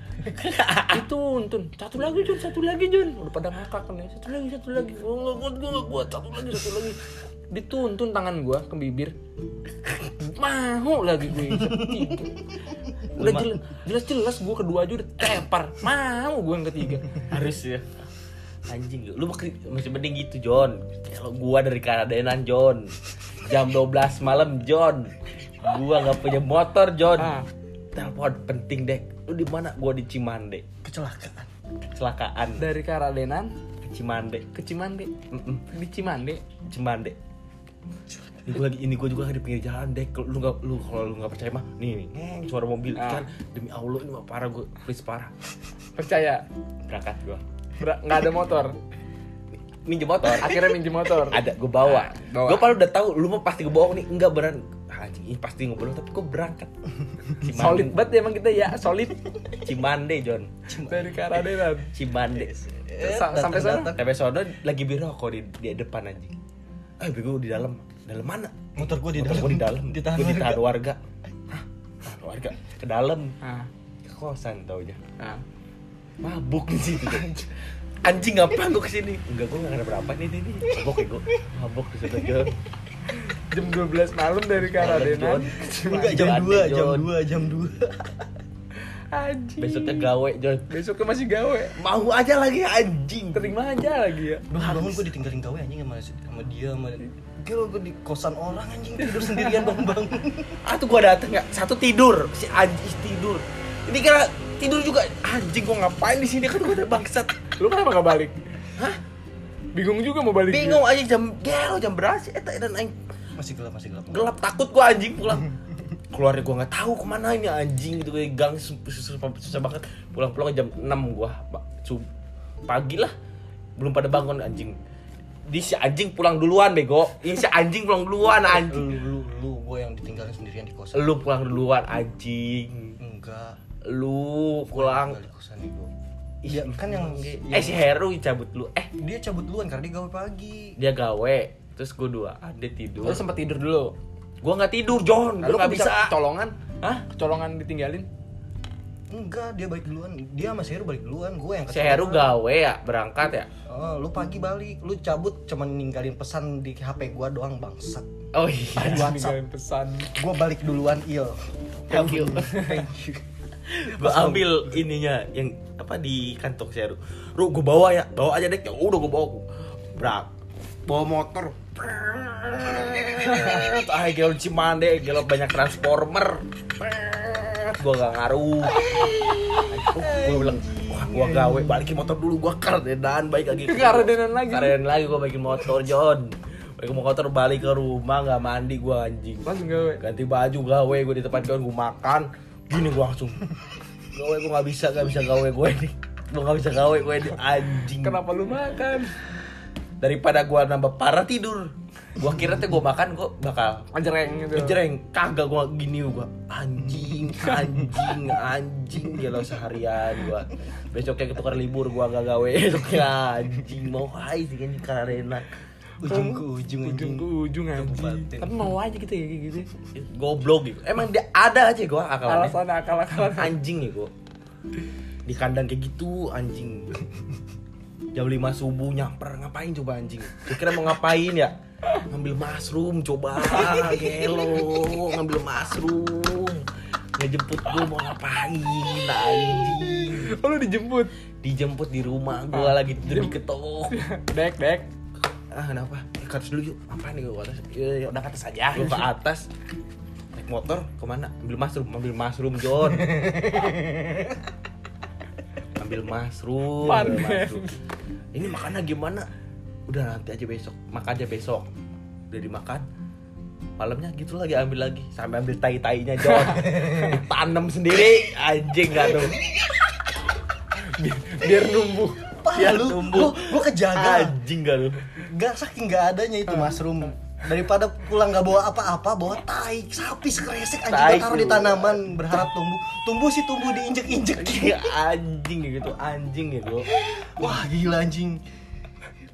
Speaker 4: dituntun satu lagi Jun satu lagi Jun udah pada ngakak nih satu lagi satu lagi gua nggak kuat gua nggak kuat satu lagi satu lagi dituntun tangan gua ke bibir mau lagi gue ngisep. udah jelas jelas jelas gue kedua aja udah tepar mau gue yang ketiga
Speaker 1: Harus ya. Anjing lu makri- masih mending gitu John. Kalau gua dari Karadenan John. Jam 12 malam John. Gua nggak punya motor John.
Speaker 4: Ah.
Speaker 1: Telepon penting dek. Lu di mana? Gua di Cimande.
Speaker 2: kecelakaan
Speaker 1: Kecelakaan
Speaker 4: dari Karadenan
Speaker 1: ke Cimande.
Speaker 4: ke Cimande
Speaker 1: Mm-mm.
Speaker 4: di Cimande
Speaker 1: cuman dek ini gue lagi ini gue juga lagi di pinggir jalan dek Kalau lu nggak lu kalau lu nggak percaya mah nih nih ngeng, suara mobil
Speaker 4: Ah.
Speaker 1: kan demi allah ini mah parah gue please parah
Speaker 4: percaya
Speaker 1: berangkat gue
Speaker 4: Ber- nggak ada motor
Speaker 1: minjem motor
Speaker 4: akhirnya minjem motor
Speaker 1: ada gue bawa
Speaker 4: Ah, bawa.
Speaker 1: gue paling udah tahu lu mah pasti gue bohong nih enggak beran anjing ini pasti gue bohong tapi gue berangkat Cimande-
Speaker 4: solid banget emang kita ya solid
Speaker 1: cimande John
Speaker 4: dari Karadenan
Speaker 1: cimande Eh,
Speaker 4: Sa- sampai sana
Speaker 1: sampai sono lagi biro kok di, di depan anjing eh bego di dalam dalam mana
Speaker 2: motor gue di
Speaker 1: Motor
Speaker 2: dalam
Speaker 1: gua di dalam
Speaker 2: ditahan
Speaker 1: Gua ditahan
Speaker 2: warga.
Speaker 1: warga Hah? Tahan warga ke dalam
Speaker 4: Ah,
Speaker 1: kosan taunya
Speaker 4: Nah,
Speaker 1: mabuk di situ anjing ngapain gue kesini enggak gue nggak ada berapa nih nih nih mabuk ya gue mabuk di situ Jon.
Speaker 4: jam 12 malam dari
Speaker 1: Jon.
Speaker 4: Karadenan.
Speaker 2: Enggak jam
Speaker 1: Mandi,
Speaker 2: 2, jam
Speaker 1: Jon.
Speaker 2: 2, jam 2.
Speaker 4: Anjing.
Speaker 1: besoknya gawe Jon
Speaker 4: Besoknya masih gawe.
Speaker 1: mau aja lagi anjing
Speaker 4: Terima aja lagi ya.
Speaker 2: bangun gue ditinggalin gawe anjing sama sama dia sama Gila gue di kosan orang anjing tidur sendirian bangun-bangun.
Speaker 1: ah tuh gua dateng nggak satu tidur si anjing tidur ini kira tidur juga anjing gua ngapain di sini kan gua udah bangsat
Speaker 4: Lu kenapa gak balik?
Speaker 1: Hah?
Speaker 4: Bingung juga mau
Speaker 2: Iya.
Speaker 4: balik.
Speaker 1: bingung anjing jam gelo jam berapa sih Eh, eta dan anjing
Speaker 2: Masih gelap, masih gelap.
Speaker 1: gelap takut gua anjing pulang keluarnya gua nggak tahu kemana ini anjing gitu kayak gang sus- sus- susah, susah banget pulang pulang jam 6 gua Ba- sub- pagi lah belum pada bangun anjing di si anjing pulang duluan bego ini si anjing pulang duluan
Speaker 2: Lu
Speaker 1: anjing
Speaker 2: lu lu gue yang ditinggalin sendirian di kosan.
Speaker 1: lu pulang duluan anjing
Speaker 2: Enggak.
Speaker 1: lu pulang
Speaker 2: Tinggal di kosan itu.
Speaker 1: Iya,
Speaker 2: Iya, kan yang
Speaker 1: eh si Heru cabut lu eh
Speaker 2: dia cabut duluan karena dia gawe pagi.
Speaker 1: dia gawe terus gua dua ada tidur
Speaker 4: Lu sempat tidur dulu.
Speaker 1: gua nggak tidur John
Speaker 4: Lalu
Speaker 1: lu nggak bisa
Speaker 4: colongan?
Speaker 1: Hah?
Speaker 4: Colongan ditinggalin?
Speaker 2: Enggak, dia balik duluan. Dia sama si Heru balik duluan, gue yang
Speaker 1: si Heru gawe ya berangkat ya
Speaker 2: Oh, lu pagi balik, lu cabut cuman ninggalin pesan di HP gua doang bangsat.
Speaker 1: oh iya
Speaker 2: WhatsApp.
Speaker 4: Tinggalin pesan.
Speaker 2: Gua balik duluan iya. il.
Speaker 1: thank you gua ambil ininya yang apa di kantong si Heru Ru gua bawa ya bawa aja deh ya udah gua bawa berak bawa motor ah gelap cimande gelap banyak transformer gua gak ngaruh gue bilang wah gue gawe balikin motor dulu gue kardenan baik lagi
Speaker 4: Ke kardenan lagi.
Speaker 1: kardenan lagi gue balikin motor John balikin motor balik ke rumah nggak mandi gue anjing
Speaker 4: Langsung gawe.
Speaker 1: ganti baju gawe gue di tempat John gue makan gini gue langsung gawe gue nggak bisa nggak bisa gawe gue ini gue nggak bisa gawe gue ini anjing
Speaker 4: Kenapa lu makan?
Speaker 1: daripada gue nambah parah tidur gue kira tuh gue makan gue bakal
Speaker 4: Anjreng gitu.
Speaker 1: Ngejreng, kagak gua gini gua anjing, anjing, anjing gila seharian gua. Besoknya ketukar libur gua gak gawe. Besoknya anjing mau hai sih kan karena
Speaker 2: Ujung ke ujung
Speaker 4: Ujung
Speaker 2: anjing.
Speaker 4: ke ujung anjing.
Speaker 2: batin.
Speaker 4: Tapi mau aja gitu ya kayak gitu.
Speaker 1: goblok gitu. Emang dia ada aja gua akalannya.
Speaker 4: Alasan akal-akalan.
Speaker 1: Anjing ya gua. Di kandang kayak gitu anjing. Jam 5 subuh nyamper ngapain coba anjing? Gua kira mau ngapain ya? Ngambil mushroom coba, gelo, ngambil mushroom. Ngejemput gua mau ngapain anjing?
Speaker 4: Oh, lu dijemput.
Speaker 1: dijemput di rumah gua lagi tidur diketok
Speaker 4: Dek, dek.
Speaker 1: ah kenapa Eh, ke atas dulu yuk apa nih gua ke atas ya, ya udah ke atas aja gua ke atas naik motor kemana ambil mushroom ambil mushroom John ambil mushroom, ambil
Speaker 4: Panen.
Speaker 1: mushroom. ini makannya gimana udah nanti aja besok makan aja besok udah dimakan malamnya gitu lagi ambil lagi sampai ambil tai tainya John ditanam sendiri anjing gak tuh biar, biar numbuh
Speaker 2: Parah lu,
Speaker 1: numbuh.
Speaker 2: gua, gua kejaga.
Speaker 1: anjing gak tuh
Speaker 2: Gak saking gak adanya itu
Speaker 1: Ah.
Speaker 2: mushroom. Daripada pulang gak bawa apa-apa, bawa tai, sapi sekresek
Speaker 1: Tai
Speaker 2: anjing gua taruh di
Speaker 1: lu.
Speaker 2: tanaman berharap tumbuh. Tumbuh sih tumbuh diinjek-injek.
Speaker 1: Iya, anjing ya gitu anjing ya gue
Speaker 2: Wah, gila anjing.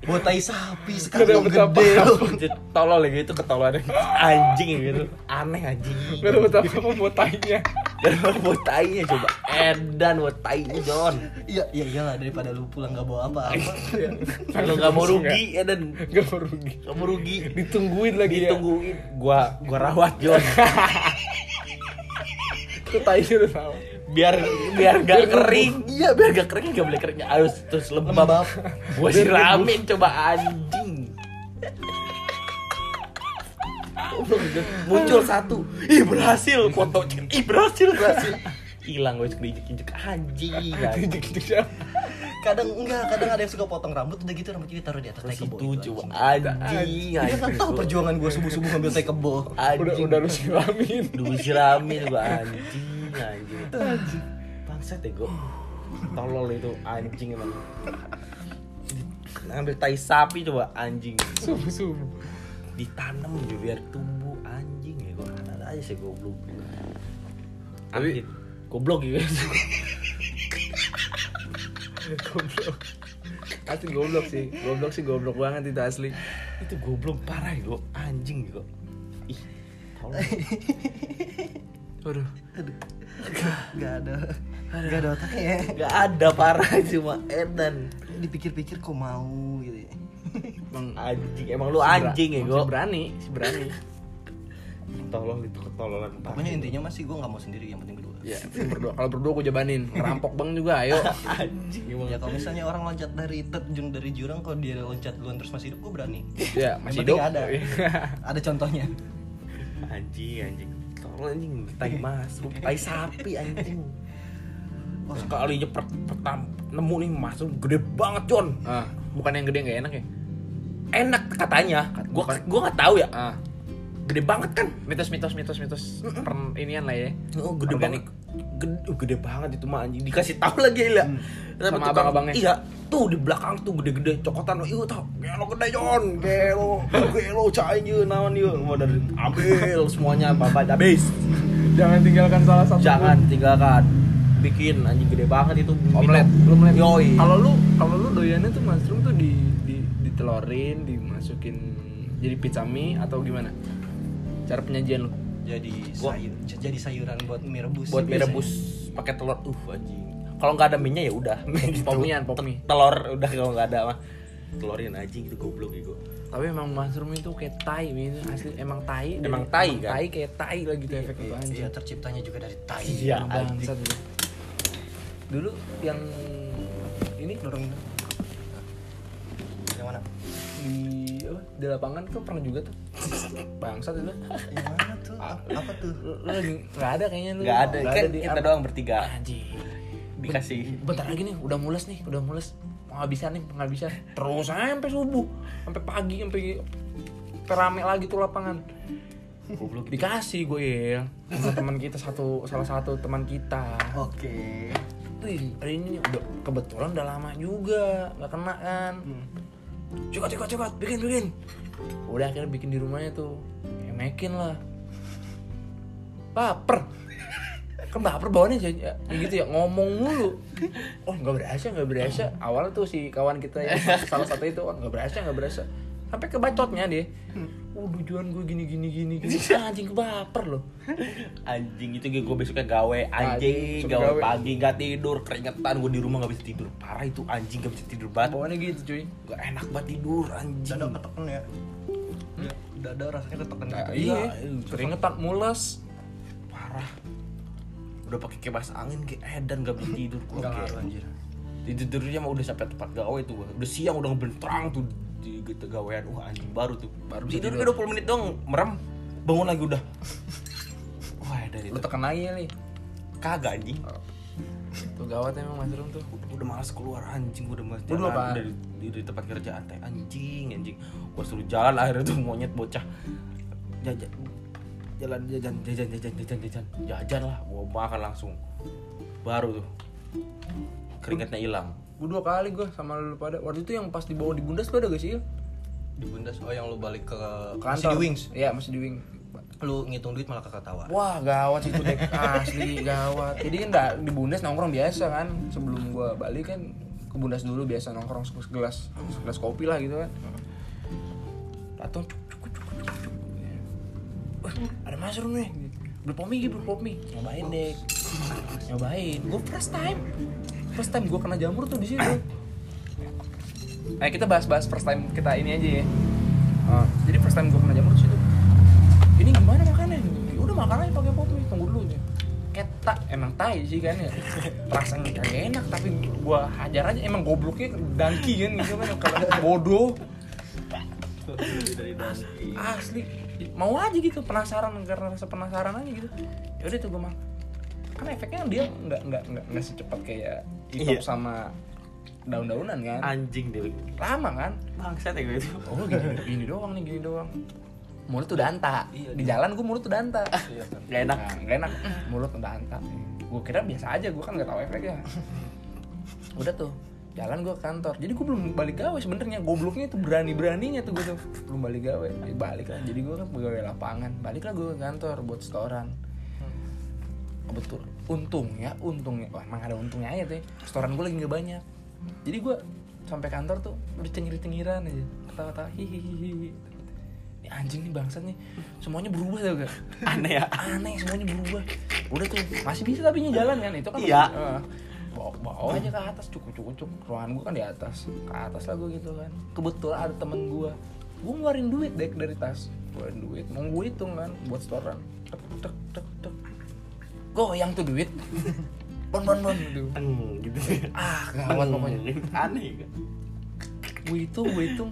Speaker 2: Bawa tai sapi
Speaker 4: Gak
Speaker 2: sekarang
Speaker 4: dapet
Speaker 2: gede
Speaker 4: apa-apa.
Speaker 2: lu.
Speaker 1: tolol ya gitu ketololan anjing ya gitu aneh anjing
Speaker 4: Gak ada apa-apa buat tainya.
Speaker 1: dan buat tainya coba edan buat tainya John
Speaker 2: Iya, iya iyalah daripada lu pulang gak bawa apa-apa.
Speaker 1: kalau nggak mau rugi edan
Speaker 4: Gak mau rugi.
Speaker 1: kamu rugi
Speaker 4: Ditungguin lagi ya.
Speaker 1: ditungguin gua gua rawat John
Speaker 4: Tuh tainya udah sama.
Speaker 1: biar biar gak kering iya biar gak kering gak boleh kering harus terus lembab
Speaker 2: Lembab.
Speaker 1: gua siramin coba anjing muncul satu ih berhasil foto ih berhasil berhasil hilang wes keinjek injek anjing
Speaker 4: Dijek-jek siapa?
Speaker 2: kadang enggak kadang ada yang suka potong rambut udah gitu rambut kita taruh di atas
Speaker 1: terus
Speaker 2: tai kebo
Speaker 1: itu
Speaker 2: itu
Speaker 1: coba anjing
Speaker 2: dia kan
Speaker 1: anjing
Speaker 2: tahu perjuangan gue subuh subuh ngambil tai kebo
Speaker 4: Udah
Speaker 1: anjing
Speaker 4: udah lu silamin.
Speaker 1: dulu siramin gua anjing anjing bangsat deh gua tolol itu anjing emang ngambil tai sapi coba anjing
Speaker 4: Subuh subuh.
Speaker 1: ditanam juga biar tumbuh anjing ya gua ada aja sih goblok tapi
Speaker 4: Tapi-
Speaker 1: goblok gitu
Speaker 4: goblok asli goblok sih goblok sih goblok banget itu asli
Speaker 1: itu goblok parah ya gua anjing ya gua ih tolol
Speaker 4: waduh
Speaker 2: Gak ada Gak ada otaknya ya
Speaker 1: Gak ada parah cuma Edan.
Speaker 2: Dipikir-pikir kok mau gitu ya
Speaker 1: Emang anjing, emang lu anjing ya
Speaker 4: gue
Speaker 1: gue.
Speaker 4: berani si berani
Speaker 1: Tolol itu ketololan.
Speaker 2: Pokoknya intinya masih gue gak mau sendiri yang penting berdua
Speaker 4: ya berdua kalau berdua gue jabanin ngerampok bang juga ayo
Speaker 1: anjing emang.
Speaker 2: Ya kalau misalnya orang loncat dari terjun dari jurang Kalau dia loncat duluan terus masih hidup gue berani
Speaker 4: ya
Speaker 2: Yang
Speaker 4: masih
Speaker 2: penting
Speaker 4: hidup
Speaker 2: ada
Speaker 1: Iya.
Speaker 2: Ada contohnya
Speaker 1: Anjing, anjing. Tolol anjing, tai masuk, tai sapi anjing.
Speaker 4: sekali nyeprek pertam nemu nih masuk gede banget John ah. bukan yang gede nggak enak ya enak katanya gua gua nggak tahu ya ah. gede banget kan mitos mitos mitos mitos per inian lah ya
Speaker 1: Oh, gede banget.
Speaker 4: Organik.
Speaker 1: Hmm. Gede, oh, gede banget itu mah anjing. Dikasih tahu lagi lah.
Speaker 4: Sama abang-abangnya.
Speaker 1: Iya, tuh di belakang tuh gede-gede cokotan. Iya, tau. Gelo gede Jon, gelo, gelo cain yeuh naon yeuh. Mau dari ambil semuanya bapak habis.
Speaker 4: jangan tinggalkan salah satu
Speaker 1: Jangan tinggalkan. Bikin anjing gede banget itu
Speaker 4: omelet omelet
Speaker 1: Yoi.
Speaker 4: kalau lu kalau lu doyannya tuh mushroom tuh di di ditelorin dimasukin jadi pizza mie atau gimana cara penyajian lu
Speaker 2: Jadi
Speaker 1: Gua-
Speaker 2: sayur Jadi sayuran buat mie rebus
Speaker 1: buat mie
Speaker 2: biasanya.
Speaker 1: rebus pakai telur. Uh, anjing. Kalau nggak ada minyak ya udah. Gitu.
Speaker 4: pop mie-an, pop mie.
Speaker 1: Telur udah kalau nggak ada mah. Telorin anjing itu goblok gitu.
Speaker 4: tapi emang mushroom itu kayak tai men. asli emang tai
Speaker 1: Emang tai, kan?
Speaker 4: tai kayak tai lah gitu efeknya tuh anjing
Speaker 2: Iya terciptanya juga dari tai
Speaker 1: Iya,
Speaker 4: Emang
Speaker 1: anjing.
Speaker 4: bangsat lu. dulu yang ini
Speaker 2: Dorongin Yang mana?
Speaker 4: di apa, di lapangan tuh pernah juga tuh bangsat itu
Speaker 2: Yang mana tuh? Apa tuh?
Speaker 4: lu lu lagi nggak ada kayaknya lu
Speaker 1: Nggak ada. Kan
Speaker 4: di-
Speaker 1: kita doang bertiga.
Speaker 4: anjing
Speaker 1: Dikasih.
Speaker 4: bentar lagi nih udah mules nih udah mules penghabisan nih penghabisan terus aja sampai subuh sampai pagi sampai sampai rame lagi tuh lapangan
Speaker 1: Goblok.
Speaker 4: dikasih gue ya sama teman kita satu salah satu teman kita
Speaker 2: Oke
Speaker 4: Wih, hari ini udah kebetulan udah lama juga nggak kena kan. Cepat, cepat, cepat, bikin, bikin. Udah akhirnya bikin di rumahnya tuh, emekin lah. Baper, kan baper bawaannya jadi ya, gitu ya ngomong mulu. Oh nggak berasa, nggak berasa. Awal tuh si kawan kita yang salah satu itu oh, nggak berasa, nggak berasa. Sampai kebacotnya dia. Oh tujuan gue gini gini gini gini. Anjing baper loh.
Speaker 1: anjing itu gue besoknya gawe
Speaker 4: Anjing,
Speaker 1: anjing
Speaker 4: suka
Speaker 1: gawe
Speaker 4: gawe.
Speaker 1: pagi nggak tidur keringetan gue di rumah nggak bisa tidur parah itu anjing gak bisa tidur banget
Speaker 4: Bawaannya gitu cuy.
Speaker 1: gak enak banget tidur anjing
Speaker 2: Dada ketekan ya Dada rasanya ketekan
Speaker 4: Nah,
Speaker 2: gitu
Speaker 4: iya,
Speaker 1: iya.
Speaker 4: keringetan mules.
Speaker 1: parah udah pakai kipas angin kayak edan gak bisa tidur gue
Speaker 2: Gak ngaruh anjir
Speaker 1: tidurnya mah udah sampai tempat gawe tuh gua. udah siang udah ngebentrang tuh di gitu, gawean wah anjing baru tuh baru tidur kayak 20 menit dong merem bangun lagi udah wah dari
Speaker 4: Lu tekan lagi nih.
Speaker 1: kagak anjing
Speaker 4: Tuh gawat emang mushroom tuh.
Speaker 1: Gua udah malas keluar anjing gua udah malas
Speaker 4: Lu dulu
Speaker 1: jalan
Speaker 4: apaan?
Speaker 1: dari, dari, dari tempat kerjaan teh anjing anjing gua suruh jalan akhirnya tuh monyet bocah jajan jalan jajan jajan jajan jajan jajan jajan lah gua makan langsung baru tuh keringatnya hilang
Speaker 4: Gue dua kali gue sama lu pada waktu itu yang pas dibawa di bundas lu ada gak sih? Il?
Speaker 2: Di bundas Oh yang lu balik ke
Speaker 4: Ke
Speaker 2: Masih di Wings
Speaker 4: Iya masih di wing.
Speaker 2: Lu ngitung duit malah ketawa
Speaker 4: Wah gawat sih itu dek asli gawat. Jadi kan nggak- di bundas nongkrong biasa kan sebelum gue balik kan ke bundas dulu biasa nongkrong se- segelas segelas kopi lah gitu kan. Datang cuk cuk cuk cuk cuk, cuk. Wah, ada mushroom nih. Beli pomi gitu, beli pomi. Nyobain dek. Nyobain. Gue first time. First time gue kena jamur tuh di situ. Eh kita bahas-bahas first time kita ini aja ya. Ah, jadi first time gue kena jamur di situ. Ini gimana makannya? Ya Udah makan aja pakai pop mie, tunggu dulu aja. Keta, emang tai sih kan ya. Rasanya kagak enak tapi gue hajar aja. Emang gobloknya dangki kan gitu kan kalau bodoh. Asli mau aja gitu penasaran karena rasa penasaran aja gitu. Ya udah tuh gue makan. Kan efeknya dia nggak nggak nggak nggak secepat kayak
Speaker 1: Iya.
Speaker 4: hijab sama daun-daunan kan
Speaker 1: anjing deh
Speaker 4: lama kan
Speaker 1: bangsat ya gue itu
Speaker 4: oh gini, gini doang nih gini doang Iya, mulut udah anta di jalan gue mulut udah anta
Speaker 1: gak enak
Speaker 4: Iya, Nah, gak enak mulut udah anta gue kira biasa aja gue kan nggak tahu efeknya udah tuh jalan gue ke kantor jadi gue belum balik gawe sebenarnya gobloknya itu berani beraninya tuh gue tuh belum balik gawe Ya, balik lah jadi gue kan pegawai lapangan balik lah gue ke kantor buat setoran kebetulan untung ya untung ya wah emang ada untungnya aja tuh ya. setoran gue lagi nggak banyak jadi gue sampai kantor tuh udah cengir cengiran aja ketawa tawa hihihihi "Ini anjing nih bangsat nih semuanya berubah tau gak
Speaker 1: Aneh ya?
Speaker 4: aneh semuanya berubah udah tuh masih bisa tapi ini jalan kan itu kan
Speaker 1: Iya.
Speaker 4: masih- eh, bawa, bawa aja ke atas cukup cukup cukup ruangan gue kan di atas ke atas lah gue gitu kan kebetulan ada temen gue gue ngeluarin duit dek dari tas ngeluarin duit mau gue hitung kan buat setoran tek tek tek tek goyang tuh duit bon bon bon gitu
Speaker 1: Teng gitu.
Speaker 4: ah gawat pokoknya
Speaker 1: Aneh kan?
Speaker 4: gue itu gue itu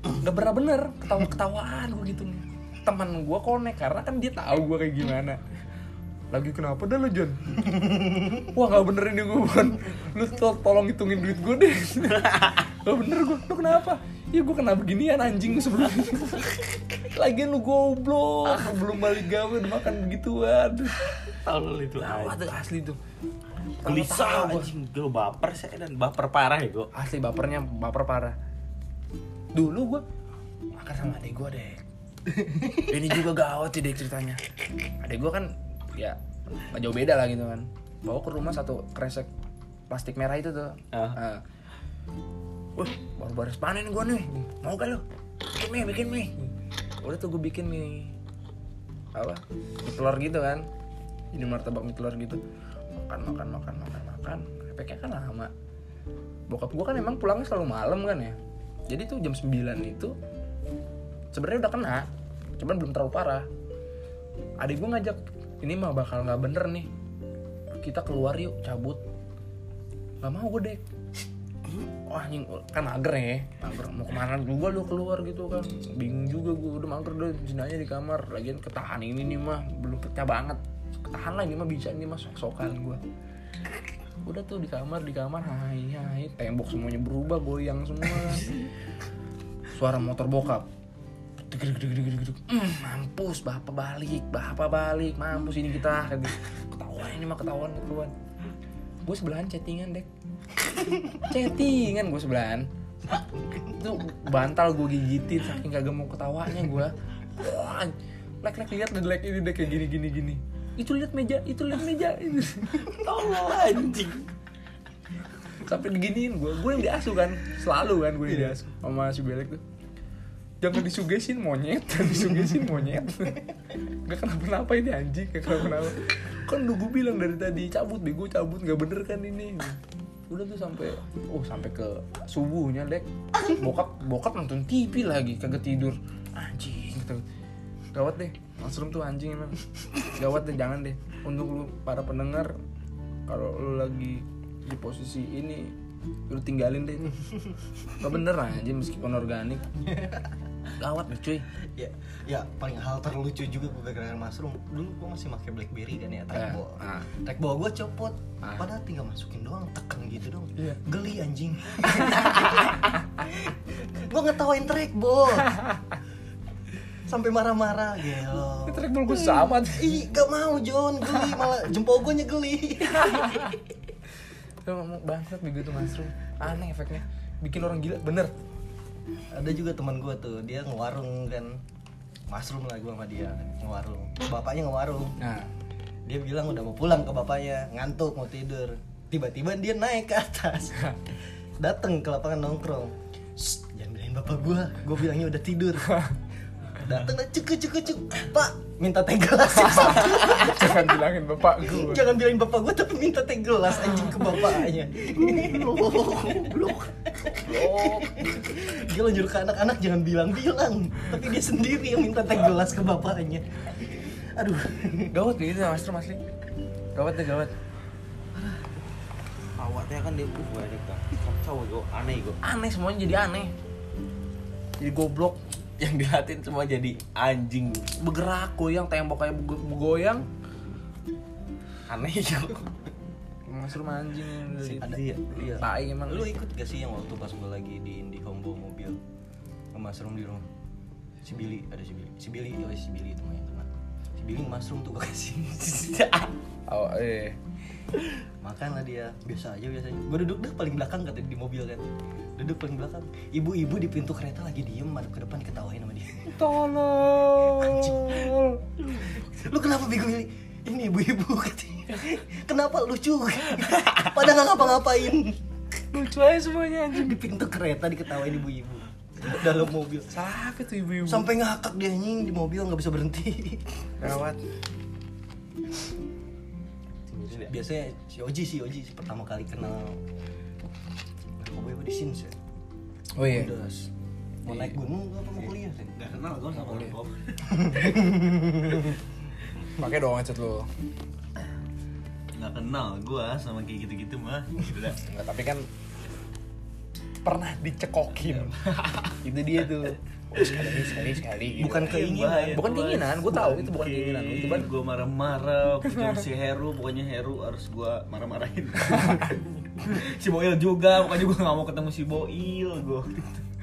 Speaker 4: nggak pernah bener ketawa ketawaan gue gitu teman gue konek karena kan dia tahu gue kayak gimana lagi kenapa dah lu John wah nggak bener ini gue Bon lu to- tolong hitungin duit gue deh nggak bener gue lu kenapa Iya gue kena beginian anjing sebelum Lagian lu goblok Lu Belum balik gawe udah makan begituan
Speaker 1: Tolol itu
Speaker 4: Wah
Speaker 1: anjing.
Speaker 4: tuh asli tuh
Speaker 1: Gelisah
Speaker 4: Ketawa-tawa.
Speaker 1: anjing. Gue baper saya dan baper parah ya gue.
Speaker 4: asli bapernya baper parah dulu gue makan sama adik gue deh ini juga gawat sih deh ceritanya adik gue kan ya nggak jauh beda lah gitu kan bawa ke rumah satu kresek plastik merah itu tuh
Speaker 1: Ah.
Speaker 4: Ah. wah baru baru panen gue nih mau gak lo bikin mie bikin mie udah tuh gue bikin mie apa mie telur gitu kan ini martabak mie telur gitu makan makan makan makan makan efeknya kan lama bokap gue kan emang pulangnya selalu malam kan ya jadi tuh jam 9 itu sebenarnya udah kena cuman belum terlalu parah adik gue ngajak ini mah bakal nggak bener nih kita keluar yuk cabut nggak mau gue dek wah anjing kan mager ya mager mau kemana juga lu keluar gitu kan bingung juga gue udah mager udah sini aja di kamar lagian ketahan ini nih mah belum pecah banget ketahan lah ini mah bisa ini mah sok-sokan gue udah tuh di kamar di kamar hai hai tembok semuanya berubah goyang semua suara motor bokap Deg, deg, deg, deg, deg, deg. Mm, mampus bapak balik bapak balik mampus ini kita Kata- ketahuan ini mah ketahuan ketahuan gue sebelahan chattingan dek chattingan gue sebelahan itu bantal gue gigitin saking kagak mau ketawanya gue Wah, lek lek lihat deh lek ini deh kayak gini gini gini itu lihat meja itu lihat meja tolong anjing sampai diginiin gue gue yang diasuh kan selalu kan gue yang diasuh sama si belek tuh jangan disugesin monyet jangan disugesin monyet gak kenapa-napa ini anjing gak kenapa-napa kan udah gue bilang dari tadi cabut bego cabut gak bener kan ini udah tuh sampai oh sampai ke subuhnya dek bokap bokap nonton TV lagi kagak tidur anjing kata gue. gawat deh mushroom tuh anjing emang gawat deh jangan deh untuk lu para pendengar kalau lu lagi di posisi ini lu tinggalin deh gak bener aja meskipun organik gawat nih cuy
Speaker 2: ya ya paling hal terlucu juga gue gara-gara mushroom dulu gue masih pakai blackberry kan ya trackball
Speaker 4: Ah, ah.
Speaker 2: trackball gue copot
Speaker 4: Ah.
Speaker 2: padahal tinggal masukin doang tekan gitu dong
Speaker 4: Iya.
Speaker 2: geli anjing gue ngetawain trackball sampai marah-marah gelo
Speaker 4: trackball gue sama
Speaker 2: Ih, gak mau John, geli malah jempol gue nyegeli.
Speaker 4: Lu ngomong bangsat begitu mushroom Aneh efeknya Bikin orang gila bener
Speaker 2: ada juga teman gue tuh dia ngewarung kan mushroom lah gue sama dia ngewarung bapaknya ngewarung
Speaker 4: Nah
Speaker 2: dia bilang udah mau pulang ke bapaknya ngantuk mau tidur tiba-tiba dia naik ke atas datang ke lapangan nongkrong "Shh, jangan bilangin bapak gue gue bilangnya udah tidur datang dah, cuk cuk cuk pak minta teh gelas ya,
Speaker 4: Jangan bilangin bapak gue
Speaker 2: jangan bilangin bapak gue tapi minta teh gelas anjing ke bapaknya dia lo nyuruh ke anak-anak jangan bilang-bilang tapi dia sendiri yang minta teh gelas ke bapaknya aduh
Speaker 4: Gawat gitu mushroom asli Gawat deh gawat
Speaker 1: Awatnya kan dia uh banyak kan. Kacau gue aneh gue.
Speaker 4: Aneh semuanya jadi aneh Jadi goblok
Speaker 1: Yang dihatin semua jadi anjing.
Speaker 4: Bergerak goyang tembok kayak bego- goyang
Speaker 1: Aneh gue.
Speaker 4: Mushroom anjing
Speaker 2: Ada-
Speaker 1: Iya. Iya.
Speaker 4: Tai emang
Speaker 2: lu ikut gak sih yang waktu pas gue lagi di Indihome bawa mobil sama mushroom di rumah si Billy ada si Billy si Billy oh si Billy itu main teman si Billy mushroom tuh gue kasih
Speaker 4: Oh eh
Speaker 2: makan lah dia biasa aja biasanya gue duduk deh paling belakang katanya di mobil kan duduk paling belakang ibu-ibu di pintu kereta lagi diem madep ke depan diketawain sama dia
Speaker 4: Tolong
Speaker 2: lu kenapa bego ini ini ibu-ibu katanya kenapa lucu pada nggak ngapa-ngapain
Speaker 4: Lucu aja semuanya anjing
Speaker 2: di pintu kereta diketawain ibu-ibu dalam mobil
Speaker 4: Sakit tuh ibu-ibu.
Speaker 2: sampai ngakak dia anjing di mobil nggak bisa berhenti
Speaker 4: Gawat.
Speaker 2: biasanya si Oji si Oji si pertama kali kenal narkoba apa di sini sih
Speaker 4: Oh iya.
Speaker 2: Pedas. mau naik gunung apa mau kuliah sih
Speaker 3: Gak kenal gue sama lo
Speaker 4: Pakai dong headset lo.
Speaker 3: Gak kenal gue sama kayak gitu-gitu mah Gitu dah
Speaker 4: Enggak, tapi kan pernah dicekokin. itu dia tuh. Oh, sekali sekali sekali. gitu.
Speaker 2: Bukan
Speaker 3: Iya,
Speaker 2: keinginan.
Speaker 4: Bukan keinginan, gua tahu itu bukan keinginan. Itu kan-
Speaker 3: gue marah-marah Kecuali si Heru, pokoknya Heru harus gue marah-marahin Si Boil juga, pokoknya gue gak mau ketemu si Boil Gue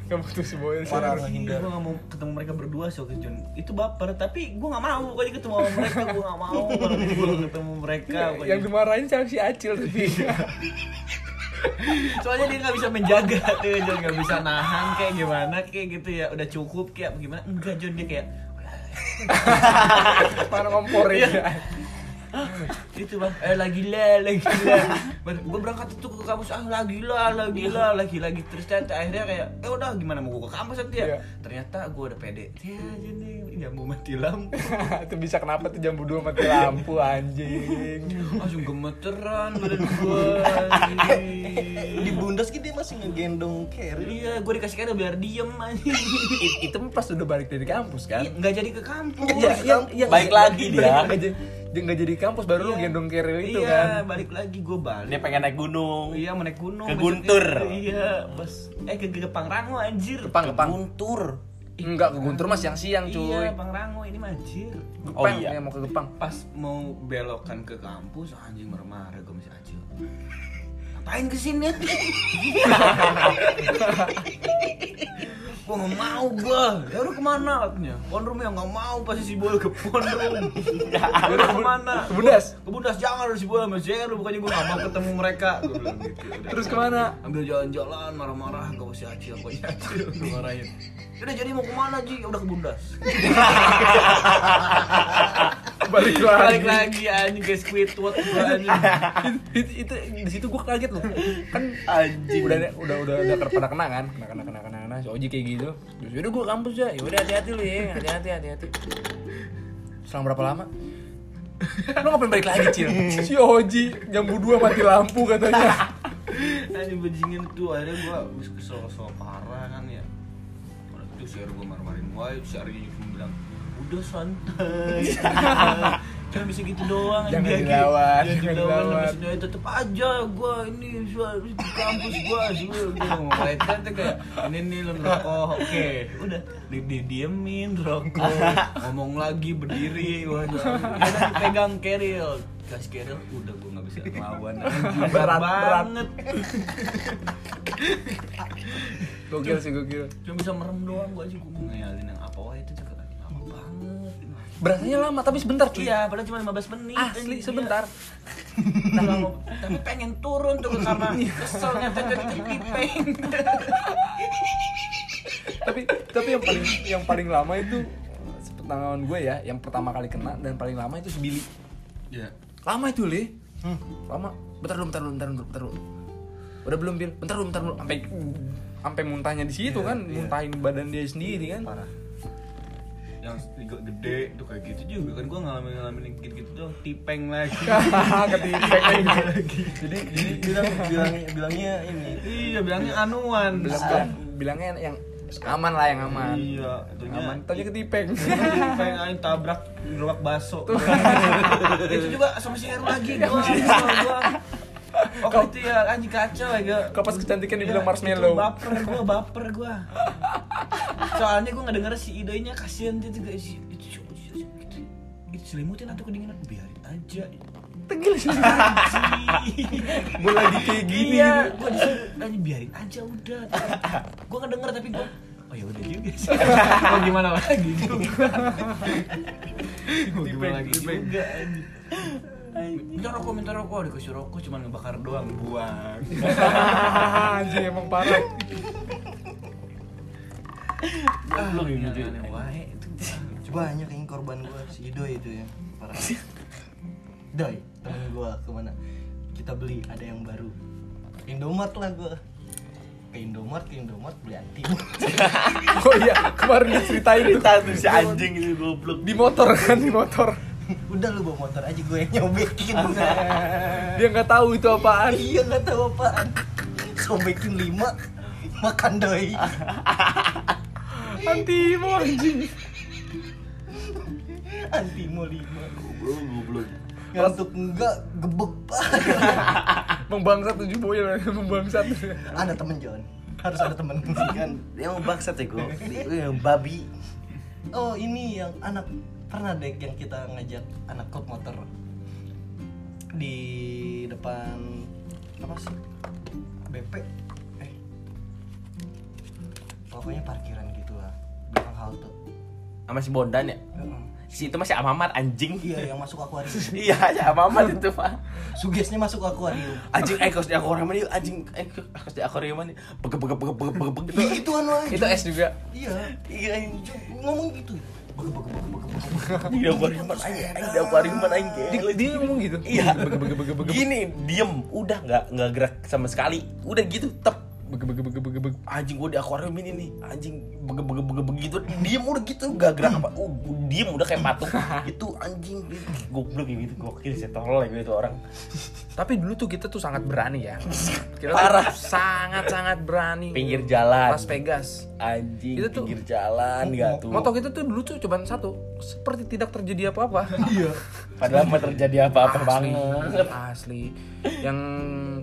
Speaker 4: kamu tuh si boy
Speaker 3: Gue gak mau ketemu mereka berdua sih waktu itu Jon. Itu baper, tapi gue gak mau pokoknya ketemu sama mereka Gue gak mau malam ini gue ketemu mereka
Speaker 4: Iya,
Speaker 3: pokoknya.
Speaker 4: Yang dimarahin sama si Acil tadi.
Speaker 3: Soalnya dia gak bisa menjaga tuh Jon, gak bisa nahan kayak gimana kayak gitu ya Udah cukup kayak apa gimana, enggak Jon dia kayak
Speaker 4: Mana ngomporin ya.
Speaker 3: itu bang eh lagi lah lagi lah gue berangkat itu ke kampus ah lagi lah lagi lah lagi lagi terus ternyata akhirnya kayak eh udah gimana mau gue ke kampus nanti ya
Speaker 4: Iya.
Speaker 3: ternyata gue udah pede ya aja nih nggak mau mati lampu
Speaker 4: itu bisa kenapa tuh jam 2 mati lampu anjing.
Speaker 3: langsung gemeteran badan gue
Speaker 2: di bundas gitu dia masih ngegendong carry
Speaker 3: iya gue dikasih kado biar diem aja
Speaker 4: I- itu mah pas udah balik dari kampus kan.
Speaker 3: nggak jadi ke kampus
Speaker 4: Iya, iya, iya.
Speaker 1: Baik lagi dia.
Speaker 4: Nggak jadi- dia nggak jadi kampus baru lu
Speaker 3: Iya.
Speaker 4: gendong keril itu
Speaker 3: iya,
Speaker 4: kan.
Speaker 3: balik lagi gue balik
Speaker 1: Dia pengen naik gunung.
Speaker 3: iya mau naik gunung
Speaker 1: Ke
Speaker 3: besoknya.
Speaker 1: Guntur.
Speaker 3: iya bos eh ke Pangrango anjir
Speaker 4: Gepang, gepang.
Speaker 1: Guntur.
Speaker 4: Enggak ke Guntur mas siang-siang cuy.
Speaker 3: iya Pangrango ini mah anjir
Speaker 4: Gepang,
Speaker 1: Oh iya.
Speaker 4: yang mau ke Gepang.
Speaker 3: pas mau belokan ke kampus anjing marah-marah gue masih acil ngapain kesini gue nggak mau gue ya udah kemana katanya pondrum ya nggak mau pasti si bola ke pondrum ya udah kemana
Speaker 4: Ke Bundas?
Speaker 3: ke bundas jangan harus si bola sama Zero bukannya gue nggak mau ketemu mereka Gua bilang gitu, udah.
Speaker 4: Terus kemana?
Speaker 3: ambil jalan-jalan marah-marah gak usah acil kok si acil Gua marahin udah jadi mau kemana ji udah ke bundas
Speaker 4: Balik lagi.
Speaker 3: balik lagi anjing ke Squidward gue anjing
Speaker 4: itu, itu di situ gue kaget loh kan
Speaker 1: Anjing.
Speaker 4: udah udah udah udah ter- pernah kena kan kena kena kena kena kena si Oji kayak gitu terus yaudah gue kampus ya yaudah hati-hati lu ya hati-hati hati-hati selang berapa lama lu ngapain balik lagi cil si Oji jam 2 mati lampu katanya
Speaker 3: Anjing bajingan tuh akhirnya gua habis kesel-kesel parah kan ya. Udah itu share gua marah-marahin gua, share nya cuma bilang udah santai. Jangan bisa gitu doang
Speaker 4: Jangan
Speaker 3: anjing."
Speaker 4: dilawan, jangan
Speaker 3: Jangan dilawan
Speaker 4: dilawan.
Speaker 3: habis itu tetep aja gua ini gua habis di kampus gua sih gua gua ngomong kayak tante kayak ini nih lu ngerokok. Oke, udah di di- diemin rokok. Ngomong lagi berdiri gua jangan pegang keril. Gas keril udah gua enggak bisa ngelawan anjing.
Speaker 4: Berat,
Speaker 3: Berat
Speaker 4: berat.
Speaker 3: banget.
Speaker 4: gokil sih gokil
Speaker 3: cuma bisa merem doang gue aja gue ngayalin yang apa wah itu cakep lama banget
Speaker 4: berasanya lama tapi sebentar cuy
Speaker 3: iya padahal cuma 15 menit
Speaker 4: asli
Speaker 3: Iya.
Speaker 4: sebentar
Speaker 3: Nah, lama- tapi pengen turun tuh karena kesel ngata jadi kipeng
Speaker 4: tapi tapi yang paling yang paling lama itu sepengetahuan gue ya yang pertama kali kena dan paling lama itu sebili
Speaker 3: iya
Speaker 4: lama itu li
Speaker 3: Hmm.
Speaker 4: lama bentar dulu bentar dulu bentar dulu bentar dulu udah belum bil bentar dulu bentar dulu sampai sampai muntahnya di situ
Speaker 3: Iya,
Speaker 4: kan muntahin badan dia sendiri kan
Speaker 3: yang juga gede tuh kayak gitu juga kan gue ngalamin ngalamin gitu gitu tuh tipeng lagi
Speaker 4: ketika
Speaker 2: jadi jadi bilang bilang bilangnya ini
Speaker 3: iya bilangnya anuan
Speaker 4: bilang bilangnya yang aman lah yang aman
Speaker 3: iya itunya
Speaker 4: aman tadi ketipeng Iya.
Speaker 3: tipeng aja tabrak gerobak baso itu juga sama si Heru lagi gua gua- Waktu itu ya anjing kacau ya gua.
Speaker 4: kapas kecantikan dibilang
Speaker 3: Ya,
Speaker 4: marshmallow
Speaker 3: itu baper gua baper gua soalnya gua ngedenger si idenya kasihan dia juga si itu itu itu selimutin atau kedinginan biarin aja
Speaker 4: tegil sih mulai di kayak gini
Speaker 3: iya gua disuruh anjing biarin aja udah gua ngedenger tapi gua oh ya udah juga sih Gitu. mau Oh, gimana lagi juga mau gimana lagi juga anjing minta rokok minta rokok dikasih rokok cuman ngebakar doang buang
Speaker 4: anjir emang parah
Speaker 3: lu gitu itu
Speaker 2: banyak yang korban gua si Doi itu ya parah Doi temen gua kemana kita beli ada yang baru Indomaret lah gua ke Indomaret ke Indomaret beli anti
Speaker 4: oh iya kemarin diceritain tuh
Speaker 1: Cerita tuh si anjing itu goblok.
Speaker 4: di motor kan di motor
Speaker 2: udah lu bawa motor aja gue yang nyobekin
Speaker 4: dia nggak tahu itu apaan
Speaker 2: iya nggak tahu apaan sobekin lima makan doi
Speaker 4: antimo anjing
Speaker 2: anti mau lima
Speaker 1: Goblok, goblok.
Speaker 2: ngantuk enggak gebek
Speaker 4: membangsat tujuh boyel membangsat
Speaker 2: ada temen John harus ada temen kan
Speaker 1: Dia mau bangsat ya gue. Dia yang babi.
Speaker 2: oh ini yang anak pernah deh yang kita ngajak anak klub motor di depan apa sih BP eh pokoknya parkiran gitu lah belakang halte
Speaker 1: Sama si Bondan ya. Si itu masih amamat anjing.
Speaker 2: iya yang masuk akuarium
Speaker 1: Iya, ya amamat itu, Pak.
Speaker 2: sugesnya masuk akuarium
Speaker 1: Anjing ekos di akuarium ini, anjing ekos di akuarium ini. Bege bege bege bege bege bege.
Speaker 2: Iya, itu anu aja
Speaker 4: itu eh. es juga
Speaker 2: iya
Speaker 1: Iya, anjing.
Speaker 2: ngomong gitu Bege, bege, bege, bege, bege, bege.
Speaker 1: Di akuarium anjing, anjing, di akuarium anjing.
Speaker 4: dia,
Speaker 1: gele.
Speaker 4: dia ngomong gitu
Speaker 1: Iya.
Speaker 4: bege bege bege bege
Speaker 1: Gini, diem, udah nggak nggak gerak sama sekali. Udah gitu, tep
Speaker 4: bege bege bege bege bege
Speaker 1: anjing gue di akuarium ini nih anjing bege bege bege begitu diem udah gitu gak gerak apa uh diem udah kayak patung itu anjing goblok gitu gokil sih tolol ya gitu orang
Speaker 4: tapi dulu tuh kita tuh sangat berani ya kita
Speaker 1: Parah.
Speaker 4: sangat sangat berani
Speaker 1: Pinggir jalan.
Speaker 4: Las Vegas
Speaker 1: anjing
Speaker 4: Itu tuh-
Speaker 1: pinggir jalan gak tuh
Speaker 4: motor kita tuh dulu tuh cobaan satu seperti tidak terjadi apa apa
Speaker 2: iya
Speaker 1: padahal mau terjadi apa-apa
Speaker 4: asli
Speaker 1: banget
Speaker 4: asli yang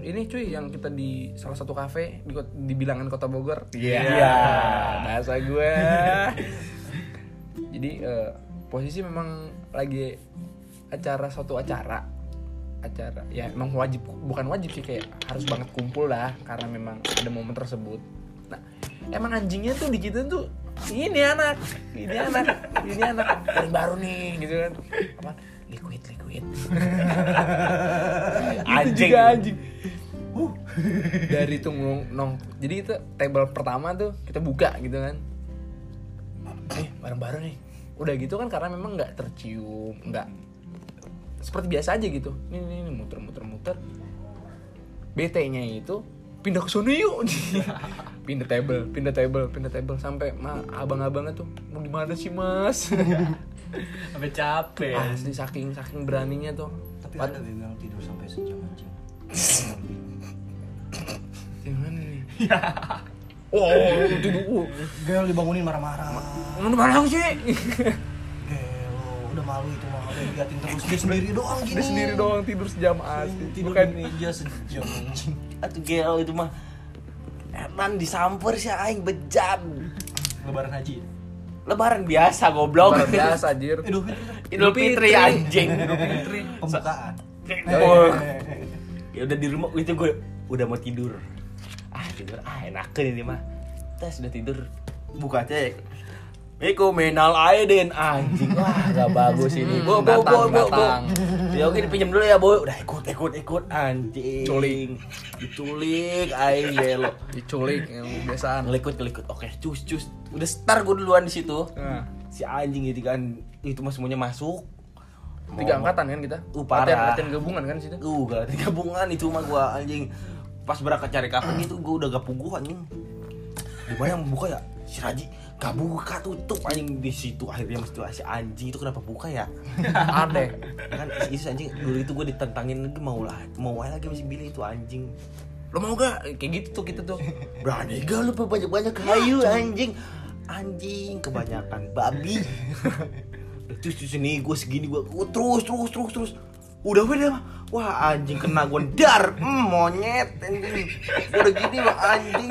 Speaker 4: ini cuy yang kita di salah satu kafe di, kot- di bilangan kota Bogor
Speaker 1: Iya.
Speaker 4: bahasa gue jadi eh, posisi memang lagi acara suatu acara acara ya emang wajib bukan wajib sih kayak harus banget kumpul lah karena memang ada momen tersebut nah emang anjingnya tuh di kita tuh ini anak ini anak ini anak yang baru nih gitu kan apa liquid liquid
Speaker 1: Anjing.
Speaker 4: anjing Gitu juga anjing Uh. dari itu nong, nong- jadi itu table pertama tuh kita buka gitu kan eh bareng bareng nih udah gitu kan karena memang nggak tercium nggak seperti biasa aja gitu ini ini, ini muter muter muter BT-nya itu pindah ke sono yuk pindah table pindah table pindah table sampai ma abang-abangnya tuh mau di mana sih mas
Speaker 3: Sampai capek.
Speaker 4: asli saking saking beraninya tuh
Speaker 2: tapi ada bilang tidur sampai sejam anjing
Speaker 4: yang mana nih oh tidur oh,
Speaker 2: Gel dibangunin marah-marah
Speaker 4: mana mana sih
Speaker 2: Gelo, udah malu itu mah udah diliatin terus dia sendiri doang gini.
Speaker 4: dia sendiri doang tidur sejam asli
Speaker 2: Asli, tidur
Speaker 4: bukan
Speaker 2: di meja sejam anjing.
Speaker 1: Atuh gelo itu mah Enan disamper sih aing bejan
Speaker 2: Lebaran haji. Eh,
Speaker 1: Lebaran biasa goblok
Speaker 4: luar biasa anjir
Speaker 2: Idul Fitri.
Speaker 1: Idul Fitri anjing
Speaker 2: Pembukaan.
Speaker 4: Iya,
Speaker 1: Oh. ya udah di rumah itu gue udah mau tidur ah tidur ah enakan ini mah tes udah tidur buka aja ya Miku minal aidin Ah, anjing wah gak bagus ini bo bo bo bo
Speaker 4: Hmm, Datang,
Speaker 1: bo
Speaker 4: datang.
Speaker 1: ya oke pinjam dulu ya bo udah ikut ikut ikut anjing
Speaker 4: Culik.
Speaker 1: diculik aing gelo
Speaker 4: diculik yang biasaan
Speaker 1: ngelikut ngelikut oke cus cus udah start gue duluan di situ
Speaker 4: nah,
Speaker 1: si anjing itu kan itu mah semuanya masuk
Speaker 4: tiga
Speaker 1: Mau-
Speaker 4: angkatan kan kita
Speaker 1: Uh, parah.
Speaker 4: Latihan- latihan gabungan kan situ
Speaker 1: Uh, galatin gabungan itu mah gua anjing. Pas berangkat cari kakak itu gua udah gak puguh anjing. Di mana yang membuka ya? Si Raji gak buka tutup anjing di situ akhirnya mesti si anjing itu kenapa buka ya?
Speaker 4: ada
Speaker 1: kan si Isus anjing dulu itu gua ditantangin lagi mau lah mau aja lagi masih pilih itu anjing
Speaker 4: lo mau gak kayak gitu tuh kita tuh
Speaker 1: berani gak lu banyak banyak kayu anjing anjing kebanyakan babi terus terus ini gue segini gue terus terus terus terus udah udah wah anjing kena gue dar hmm, monyet anjing Gua udah gini wah anjing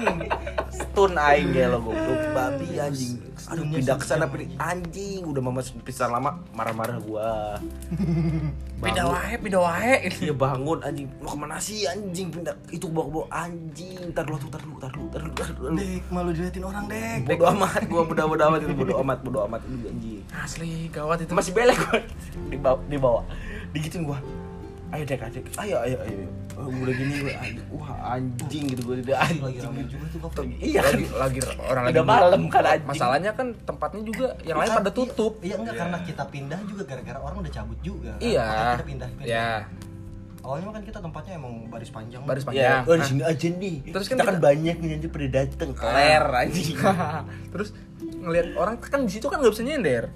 Speaker 1: stun aing ya lo goblok babi anjing aduh pindah ke sana pindah anjing udah mama pisah lama marah-marah gua
Speaker 4: pindah wae pindah wae
Speaker 1: dia Iya, bangun anjing mau kemana sih anjing pindah itu bawa bawa anjing tar lu tar lu tar lu tar lu tar lu
Speaker 2: Dek, malu diliatin orang, Dek.
Speaker 1: bodo amat gua bodo bodo amat itu bodo amat bodo amat itu anjing
Speaker 4: asli gawat itu
Speaker 1: masih belek gua dibawa dibawa digituin gua ayo dek ayo ayo ayo ayo Oh, gua udah gini gua anjing wah anjing gitu gua udah
Speaker 2: Anjing lagi
Speaker 1: anjing
Speaker 2: rame juga tuh kok.
Speaker 1: iya
Speaker 4: lagi lagi orang lagi
Speaker 1: Udah malam kan, anjing.
Speaker 4: masalahnya kan tempatnya juga yang lain
Speaker 2: Bukan,
Speaker 4: pada
Speaker 2: iya-
Speaker 4: tutup
Speaker 2: Iya enggak karena kita pindah juga gara-gara orang udah cabut juga. kan.
Speaker 4: iya
Speaker 2: Makanya Kita pindah. pindah.
Speaker 4: ya
Speaker 2: awalnya kan kita tempatnya emang baris panjang
Speaker 4: baris
Speaker 1: Ya,
Speaker 4: panjang
Speaker 1: oh, di
Speaker 4: Nah,
Speaker 1: sini aja nih.
Speaker 4: Terus
Speaker 1: Terus
Speaker 4: kan
Speaker 1: kita kan
Speaker 4: kita-
Speaker 1: banyak nih nanti pada dateng. Keler anjing.
Speaker 4: terus ngelihat orang kan di situ kan nggak bisa nyender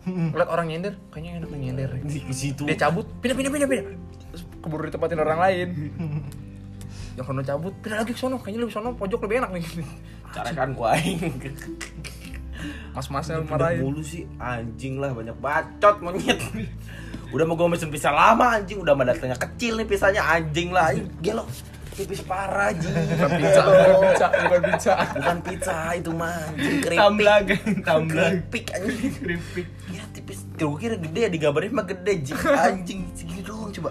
Speaker 1: Hmm.
Speaker 4: ngeliat orang nyender kayaknya enak nih nyender
Speaker 1: Di di situ.
Speaker 4: dia cabut pindah pindah pindah pindah terus keburu ditempatin orang lain yang kono cabut pindah lagi ke sono kayaknya lebih sono pojok lebih enak nih
Speaker 1: Cara kan gua aing.
Speaker 4: mas-masnya
Speaker 1: Udah
Speaker 4: marahin
Speaker 1: mulu sih anjing lah banyak bacot monyet. Udah mau gua mesen pisah lama anjing, udah mandatanya kecil nih pisahnya anjing lah. Anjing, gelo. Ini pisah parah anjing.
Speaker 4: bukan pizza bukan pizza bukan pizza
Speaker 1: Bukan pizza itu mah anjing keripik.
Speaker 3: Tamblag, tamblag.
Speaker 1: Keripik anjing.
Speaker 3: Keripik.
Speaker 1: Ya tipis. Gua kira gede ya digambarnya mah gede anjing. Anjing segini doang coba.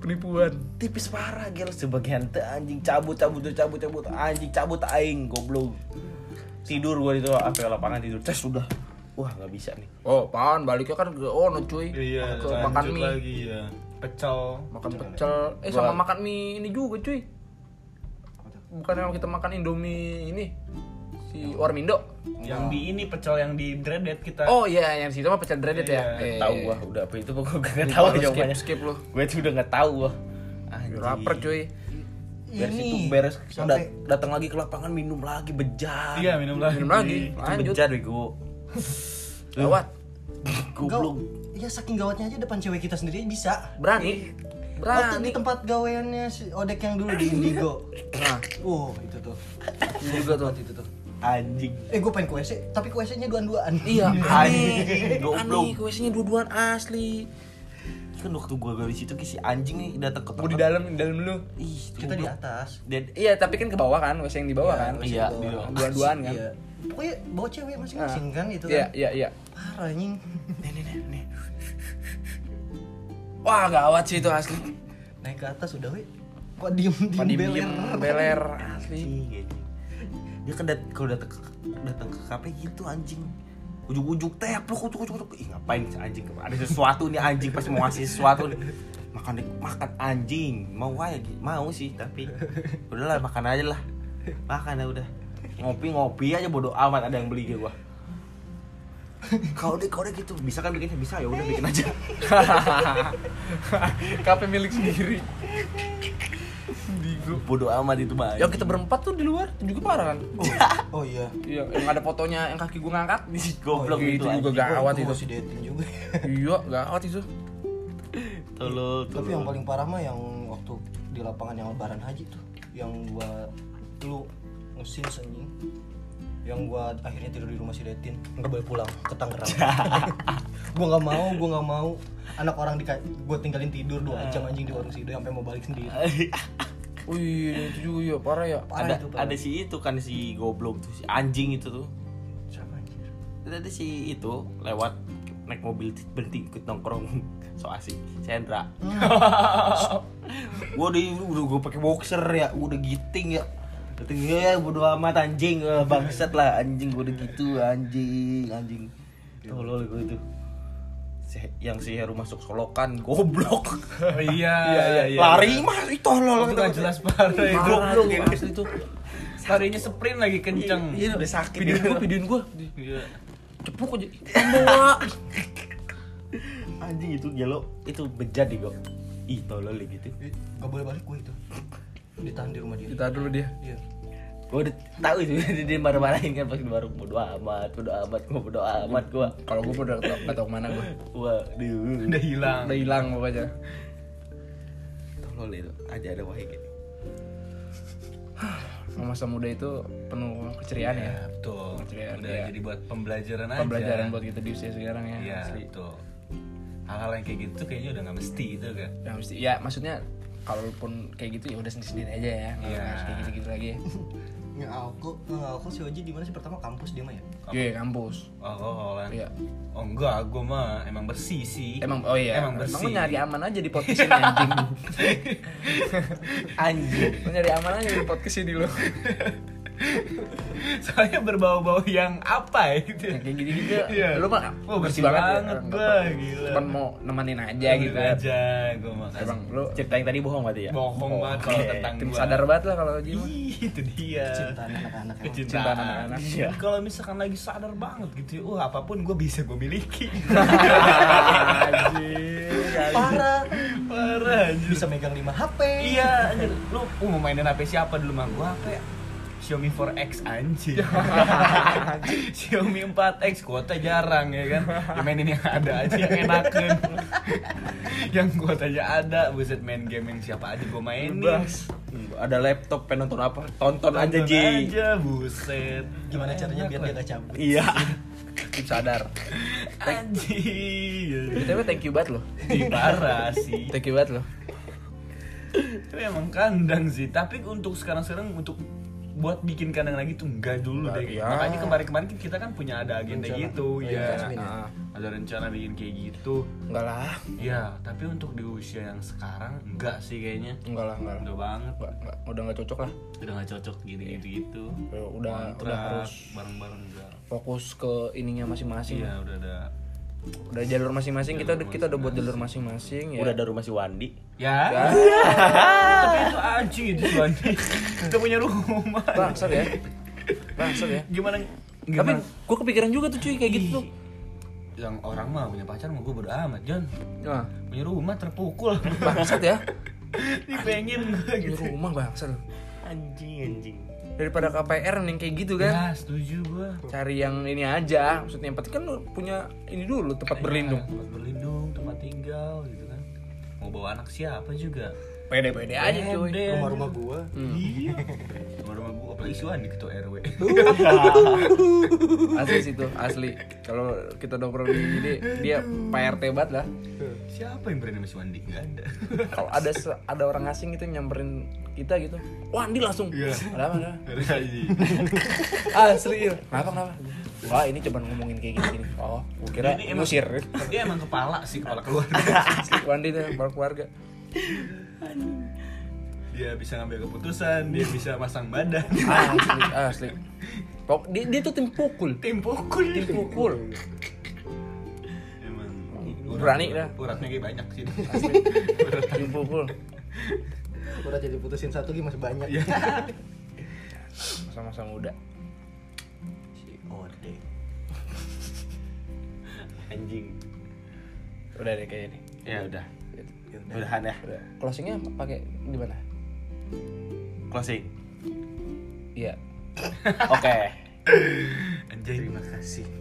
Speaker 4: penipuan
Speaker 1: tipis parah gel sebagian teh anjing cabut cabut tuh, cabut cabut anjing cabut aing goblok tidur gua itu sampai lapangan tidur tes sudah wah nggak bisa nih
Speaker 4: oh pan baliknya kan ke oh no cuy
Speaker 3: Iya,
Speaker 4: ke
Speaker 3: lanjut
Speaker 4: makan mie
Speaker 3: lagi ya. Pecel.
Speaker 4: makan pecel eh sama makan mie ini juga cuy bukan yang kita makan indomie ini si Warmindo
Speaker 3: Yang di ini pecel yang di dreaded kita.
Speaker 4: oh iya yang situ mah pecel dreaded ya
Speaker 3: Iya,
Speaker 4: Eh,
Speaker 1: tahu gua udah apa itu pokoknya gak
Speaker 4: ini
Speaker 1: tahu
Speaker 4: baru skip
Speaker 1: jawabannya Iya.
Speaker 4: skip lo
Speaker 1: gue tuh udah nggak tahu gua anjing
Speaker 4: lapar cuy
Speaker 1: beres itu
Speaker 2: ini
Speaker 1: beres
Speaker 2: sampai
Speaker 1: Dat- datang lagi ke lapangan minum lagi bejat
Speaker 3: Iya, minum lagi.
Speaker 4: minum lagi
Speaker 1: itu
Speaker 4: lanjut
Speaker 1: bejat bego
Speaker 4: lewat
Speaker 1: goblok
Speaker 2: Iya saking gawatnya aja depan cewek kita sendiri bisa.
Speaker 4: berani
Speaker 2: Waktu di
Speaker 4: berani
Speaker 2: tempat gaweannya si Odek yang dulu di Indigo.
Speaker 4: nah
Speaker 2: Wow, itu tuh.
Speaker 4: ini juga tuh
Speaker 2: Itu tuh.
Speaker 1: anjing
Speaker 2: Eh, gue pengen ke WC, tapi ke WC-nya duaan-duaan.
Speaker 4: iya
Speaker 1: Anjing,
Speaker 4: aneh
Speaker 1: goblok.
Speaker 4: aneh kuesnya dua-duaan asli
Speaker 1: kan waktu gua dari situ si anjing nih datang ke
Speaker 4: gue di
Speaker 1: tempat-
Speaker 4: dalam di dalam dulu
Speaker 1: ih
Speaker 2: Kita di atas.
Speaker 1: dan
Speaker 4: iya tapi kan ke bawah kan wc yang di bawah kan
Speaker 1: iya, di bawah.
Speaker 4: dua-duaan kan
Speaker 2: Iya. Pokoknya bawa cewek masing-masing kan itu kan.
Speaker 4: iya iya iya
Speaker 2: Parah anjing.
Speaker 1: nih nih nih nih
Speaker 4: wah gawat sih itu asli
Speaker 2: Naik ke atas udah we. Kok diem-diem
Speaker 4: Padi
Speaker 2: beler.
Speaker 4: diem beler asli
Speaker 1: Anjing, anjing. dia kan dat kalau datang ke datang ke kafe gitu anjing ujuk-ujuk teplok ujuk-ujuk ih ngapain si anjing ada sesuatu nih anjing pas mau ngasih sesuatu nih makan deh, makan anjing mau aja Gi. mau sih tapi udahlah makan aja lah makan ya udah ngopi ngopi aja bodo amat ada yang beli gue gua kau deh kau deh gitu bisa kan bikinnya bisa ya udah bikin aja
Speaker 4: kafe milik sendiri Digo.
Speaker 1: bodo amat itu mah
Speaker 4: Yang Ya, kita berempat tuh di luar itu juga parah kan?
Speaker 2: Oh iya.
Speaker 4: Iya, yang ada fotonya yang kaki gue ngangkat.
Speaker 1: goblok
Speaker 4: Oh, itu
Speaker 1: gitu
Speaker 4: juga
Speaker 1: anjing.
Speaker 2: Gua-
Speaker 4: gawat
Speaker 2: gua
Speaker 4: itu.
Speaker 2: masih dating juga.
Speaker 4: Iya, gawat itu.
Speaker 1: tolol
Speaker 2: Tapi
Speaker 1: tolol.
Speaker 2: yang paling parah mah yang waktu di lapangan yang lebaran haji tuh, yang gua lu ngesin anjing. Yang gua akhirnya tidur di rumah si Detin, nggak boleh pulang ke Tangerang. gua nggak mau, gua nggak mau anak orang di gua tinggalin tidur dua jam anjing di warung Sido sampai mau balik sendiri.
Speaker 4: Wih, itu juga ya parah ya.
Speaker 2: Parah
Speaker 1: ada
Speaker 2: itu, parah.
Speaker 1: ada si itu kan si goblok tuh si anjing itu tuh
Speaker 2: Sama anjir.
Speaker 1: ada si itu lewat naik mobil berhenti ikut nongkrong so asik Sandra Hmm. gua udah udah gua pakai boxer ya udah giting ya Dateng, ya bodo amat anjing Eh, bangsat lah anjing gua udah gitu anjing anjing tolol gua itu Si- yang si Heru masuk solokan goblok
Speaker 3: Oh, iya,
Speaker 1: lari mah itu tolol
Speaker 3: Itu nggak jelas parah itu.
Speaker 1: goblok
Speaker 4: itu,
Speaker 1: ya
Speaker 4: asli itu.
Speaker 3: Larinya sprint lagi kenceng.
Speaker 1: Iya, udah sakit
Speaker 4: Videoin gue,
Speaker 1: ya.
Speaker 4: videoin gue.
Speaker 3: Iya.
Speaker 4: Cepuk aja. Bawa.
Speaker 1: anjing itu gelo itu bejat deh gua ih tolol deh gitu
Speaker 2: Eh, Nggak boleh balik gua itu. Ditahan di rumah dia.
Speaker 4: Kita dulu dia.
Speaker 2: Iya.
Speaker 1: gua udah tahu itu dia dia marah-marahin kan pas di warung bodo amat bodo amat gua bodo amat gua
Speaker 4: Kalau gue udah tau- nggak tau kemana gue.
Speaker 1: wah duh
Speaker 3: Udah hilang.
Speaker 4: Udah hilang pokoknya.
Speaker 1: tolol deh itu aja ada wahai gitu
Speaker 4: Masa muda itu penuh keceriaan ya.
Speaker 3: Ya, betul.
Speaker 4: Keceriaan,
Speaker 3: Udah
Speaker 4: iya.
Speaker 3: jadi buat pembelajaran,
Speaker 4: Pembelajaran
Speaker 3: aja.
Speaker 4: buat kita di usia sekarang ya.
Speaker 3: Iya,
Speaker 4: asli.
Speaker 3: betul. Hal-hal yang kayak gitu tuh kayaknya udah nggak mesti gitu kan.
Speaker 4: Ya, mesti, ya maksudnya kalaupun kayak gitu ya udah sendiri sendiri aja ya. Nggak
Speaker 3: Iya.
Speaker 4: harus kayak gitu gitu lagi. ya.
Speaker 2: Ngalko, ngalko eh, si Oji di mana sih pertama kampus dia mah ya?
Speaker 4: Iya kampus.
Speaker 3: Alkoholan.
Speaker 4: Iya.
Speaker 3: Oh enggak, gue mah emang bersih sih.
Speaker 4: Emang oh iya.
Speaker 3: Emang bersih.
Speaker 4: Emang lu nyari aman aja di podcast ini anjing.
Speaker 1: anjing
Speaker 4: Lu nyari aman aja di podcast ini lu.
Speaker 3: Soalnya berbau-bau yang apa ya gitu.
Speaker 4: Yang kayak gitu-gitu.
Speaker 3: Iya.
Speaker 4: Lu mah
Speaker 3: Wah, bersih banget
Speaker 4: ya.
Speaker 3: gua, gila.
Speaker 4: Cuman mau nemenin aja gitu.
Speaker 3: Bener aja, gue mah
Speaker 4: Emang lu
Speaker 1: cerita yang tadi bohong berarti ya
Speaker 3: bohong banget kalau tentang
Speaker 4: tim
Speaker 3: gua. Iya.
Speaker 4: sadar banget lah kalau gitu.
Speaker 3: Ih, itu dia.
Speaker 2: Cintaan anak-anak emang.
Speaker 4: Kecintaan anak-anak.
Speaker 3: Iya. Kalau misalkan lagi sadar banget gitu ya, uh apapun gue bisa gue miliki.
Speaker 4: Anjing.
Speaker 2: Parah.
Speaker 3: Parah anjir.
Speaker 2: bisa megang 5 HP
Speaker 3: Iya, anjir. Lu lu mau mainin HP siapa dulu mah gua HP Xiaomi 4X anjing. Xiaomi 4X kuota jarang ya kan. Ya mainin yang ada aja yang enakan. yang kuotanya ada, buset main game yang siapa aja gua mainin.
Speaker 1: Hmm, Ada laptop, pengen nonton apa? Tonton, aja,
Speaker 3: Tonton
Speaker 1: Ji.
Speaker 3: aja, buset.
Speaker 2: gimana caranya
Speaker 3: Enak
Speaker 2: biar
Speaker 3: lah.
Speaker 2: dia gak cabut
Speaker 1: Iya. Tim sadar.
Speaker 3: Anjing.
Speaker 4: Tapi thank you banget loh.
Speaker 3: Ih, Parah sih.
Speaker 4: Thank you banget loh.
Speaker 3: Itu emang kandang sih, tapi untuk sekarang-sekarang untuk buat bikin kandang lagi tuh enggak dulu
Speaker 4: Enggak,
Speaker 3: deh.
Speaker 4: iya.
Speaker 3: Makanya kemarin-kemarin kan kita kan punya ada agenda
Speaker 2: Rencana.
Speaker 3: gitu,
Speaker 2: Iya,
Speaker 3: ya.
Speaker 2: Jasmine ya?
Speaker 3: Ah, Ada rencana bikin kayak gitu.
Speaker 4: Enggak lah.
Speaker 3: Ya, tapi untuk di usia yang sekarang enggak sih kayaknya.
Speaker 4: Enggak lah, enggak lah.
Speaker 3: Udah banget,
Speaker 4: Enggak, enggak. udah enggak cocok lah.
Speaker 3: udah nggak cocok gini-gitu gitu.
Speaker 4: Ya, Udah udah
Speaker 3: Kontrak,
Speaker 4: harus Hmm.
Speaker 3: bareng-bareng enggak.
Speaker 4: fokus ke ininya masing-masing.
Speaker 3: Iya, udah ada.
Speaker 4: Udah jalur masing-masing kita kita udah buat jalur masing-masing ya. Iya.
Speaker 1: Udah ada rumah si Wandi.
Speaker 3: Ya. tapi itu anjing itu Tuhan. Kita punya rumah.
Speaker 4: bangsat ya. Bangsat ya.
Speaker 3: Gimana?
Speaker 4: Tapi
Speaker 3: gimana-
Speaker 4: gue kepikiran juga tuh cuy kayak gitu tuh.
Speaker 3: yang orang mah punya pacar mau gue bodo amat John
Speaker 4: Nah,
Speaker 3: punya rumah terpukul
Speaker 4: bangsat ya.
Speaker 3: ini pengen gue
Speaker 4: Di
Speaker 3: gitu
Speaker 4: rumah bangsat.
Speaker 1: Anjing, anjing.
Speaker 4: Daripada KPR yang kayak gitu kan.
Speaker 3: ya setuju gue
Speaker 4: Cari yang ini aja. Maksudnya yang penting kan lu punya ini dulu
Speaker 3: Iya.
Speaker 4: tempat berlindung.
Speaker 3: tempat berlindung tempat tinggal gitu kan mau bawa anak siapa juga
Speaker 4: Pede-pede aja cuy.
Speaker 3: Gede.
Speaker 2: rumah-rumah gua
Speaker 3: iya rumah-rumah gue apalagi si Wan ketua RW
Speaker 4: asli sih tuh asli kalau kita nongkrong di gini dia PRT banget lah
Speaker 3: siapa yang berani sama si Wandi nggak ada
Speaker 4: kalau ada se- ada orang asing gitu yang nyamperin kita gitu wah ini langsung
Speaker 3: Iya.
Speaker 4: ada apa ada apa?"
Speaker 3: Rai.
Speaker 4: asli iya. kenapa kenapa wah ini cuma ngomongin kayak gini gini oh gua kira
Speaker 3: Ini emang-
Speaker 4: ngusir
Speaker 3: dia emang kepala sih kepala keluarga
Speaker 4: Wandi tuh kepala keluarga
Speaker 3: dia bisa ngambil keputusan dia bisa masang badan
Speaker 4: asli Ah, asli Pok- dia, dia tuh tim pukul
Speaker 3: tim pukul
Speaker 4: tim pukul
Speaker 3: emang
Speaker 4: Berani dah.
Speaker 3: uratnya kayak banyak sih
Speaker 4: tim pukul
Speaker 2: udah jadi putusin satu lagi masih banyak
Speaker 3: Iya.
Speaker 4: sama-sama muda
Speaker 2: si ode
Speaker 1: Anjing.
Speaker 4: udah deh kayaknya nih
Speaker 1: Ya udah.
Speaker 2: Yaudah.
Speaker 1: Udahan ya.
Speaker 4: udah closingnya pakai di mana
Speaker 1: Closing.
Speaker 4: iya
Speaker 1: Oke.
Speaker 3: anjing
Speaker 2: terima kasih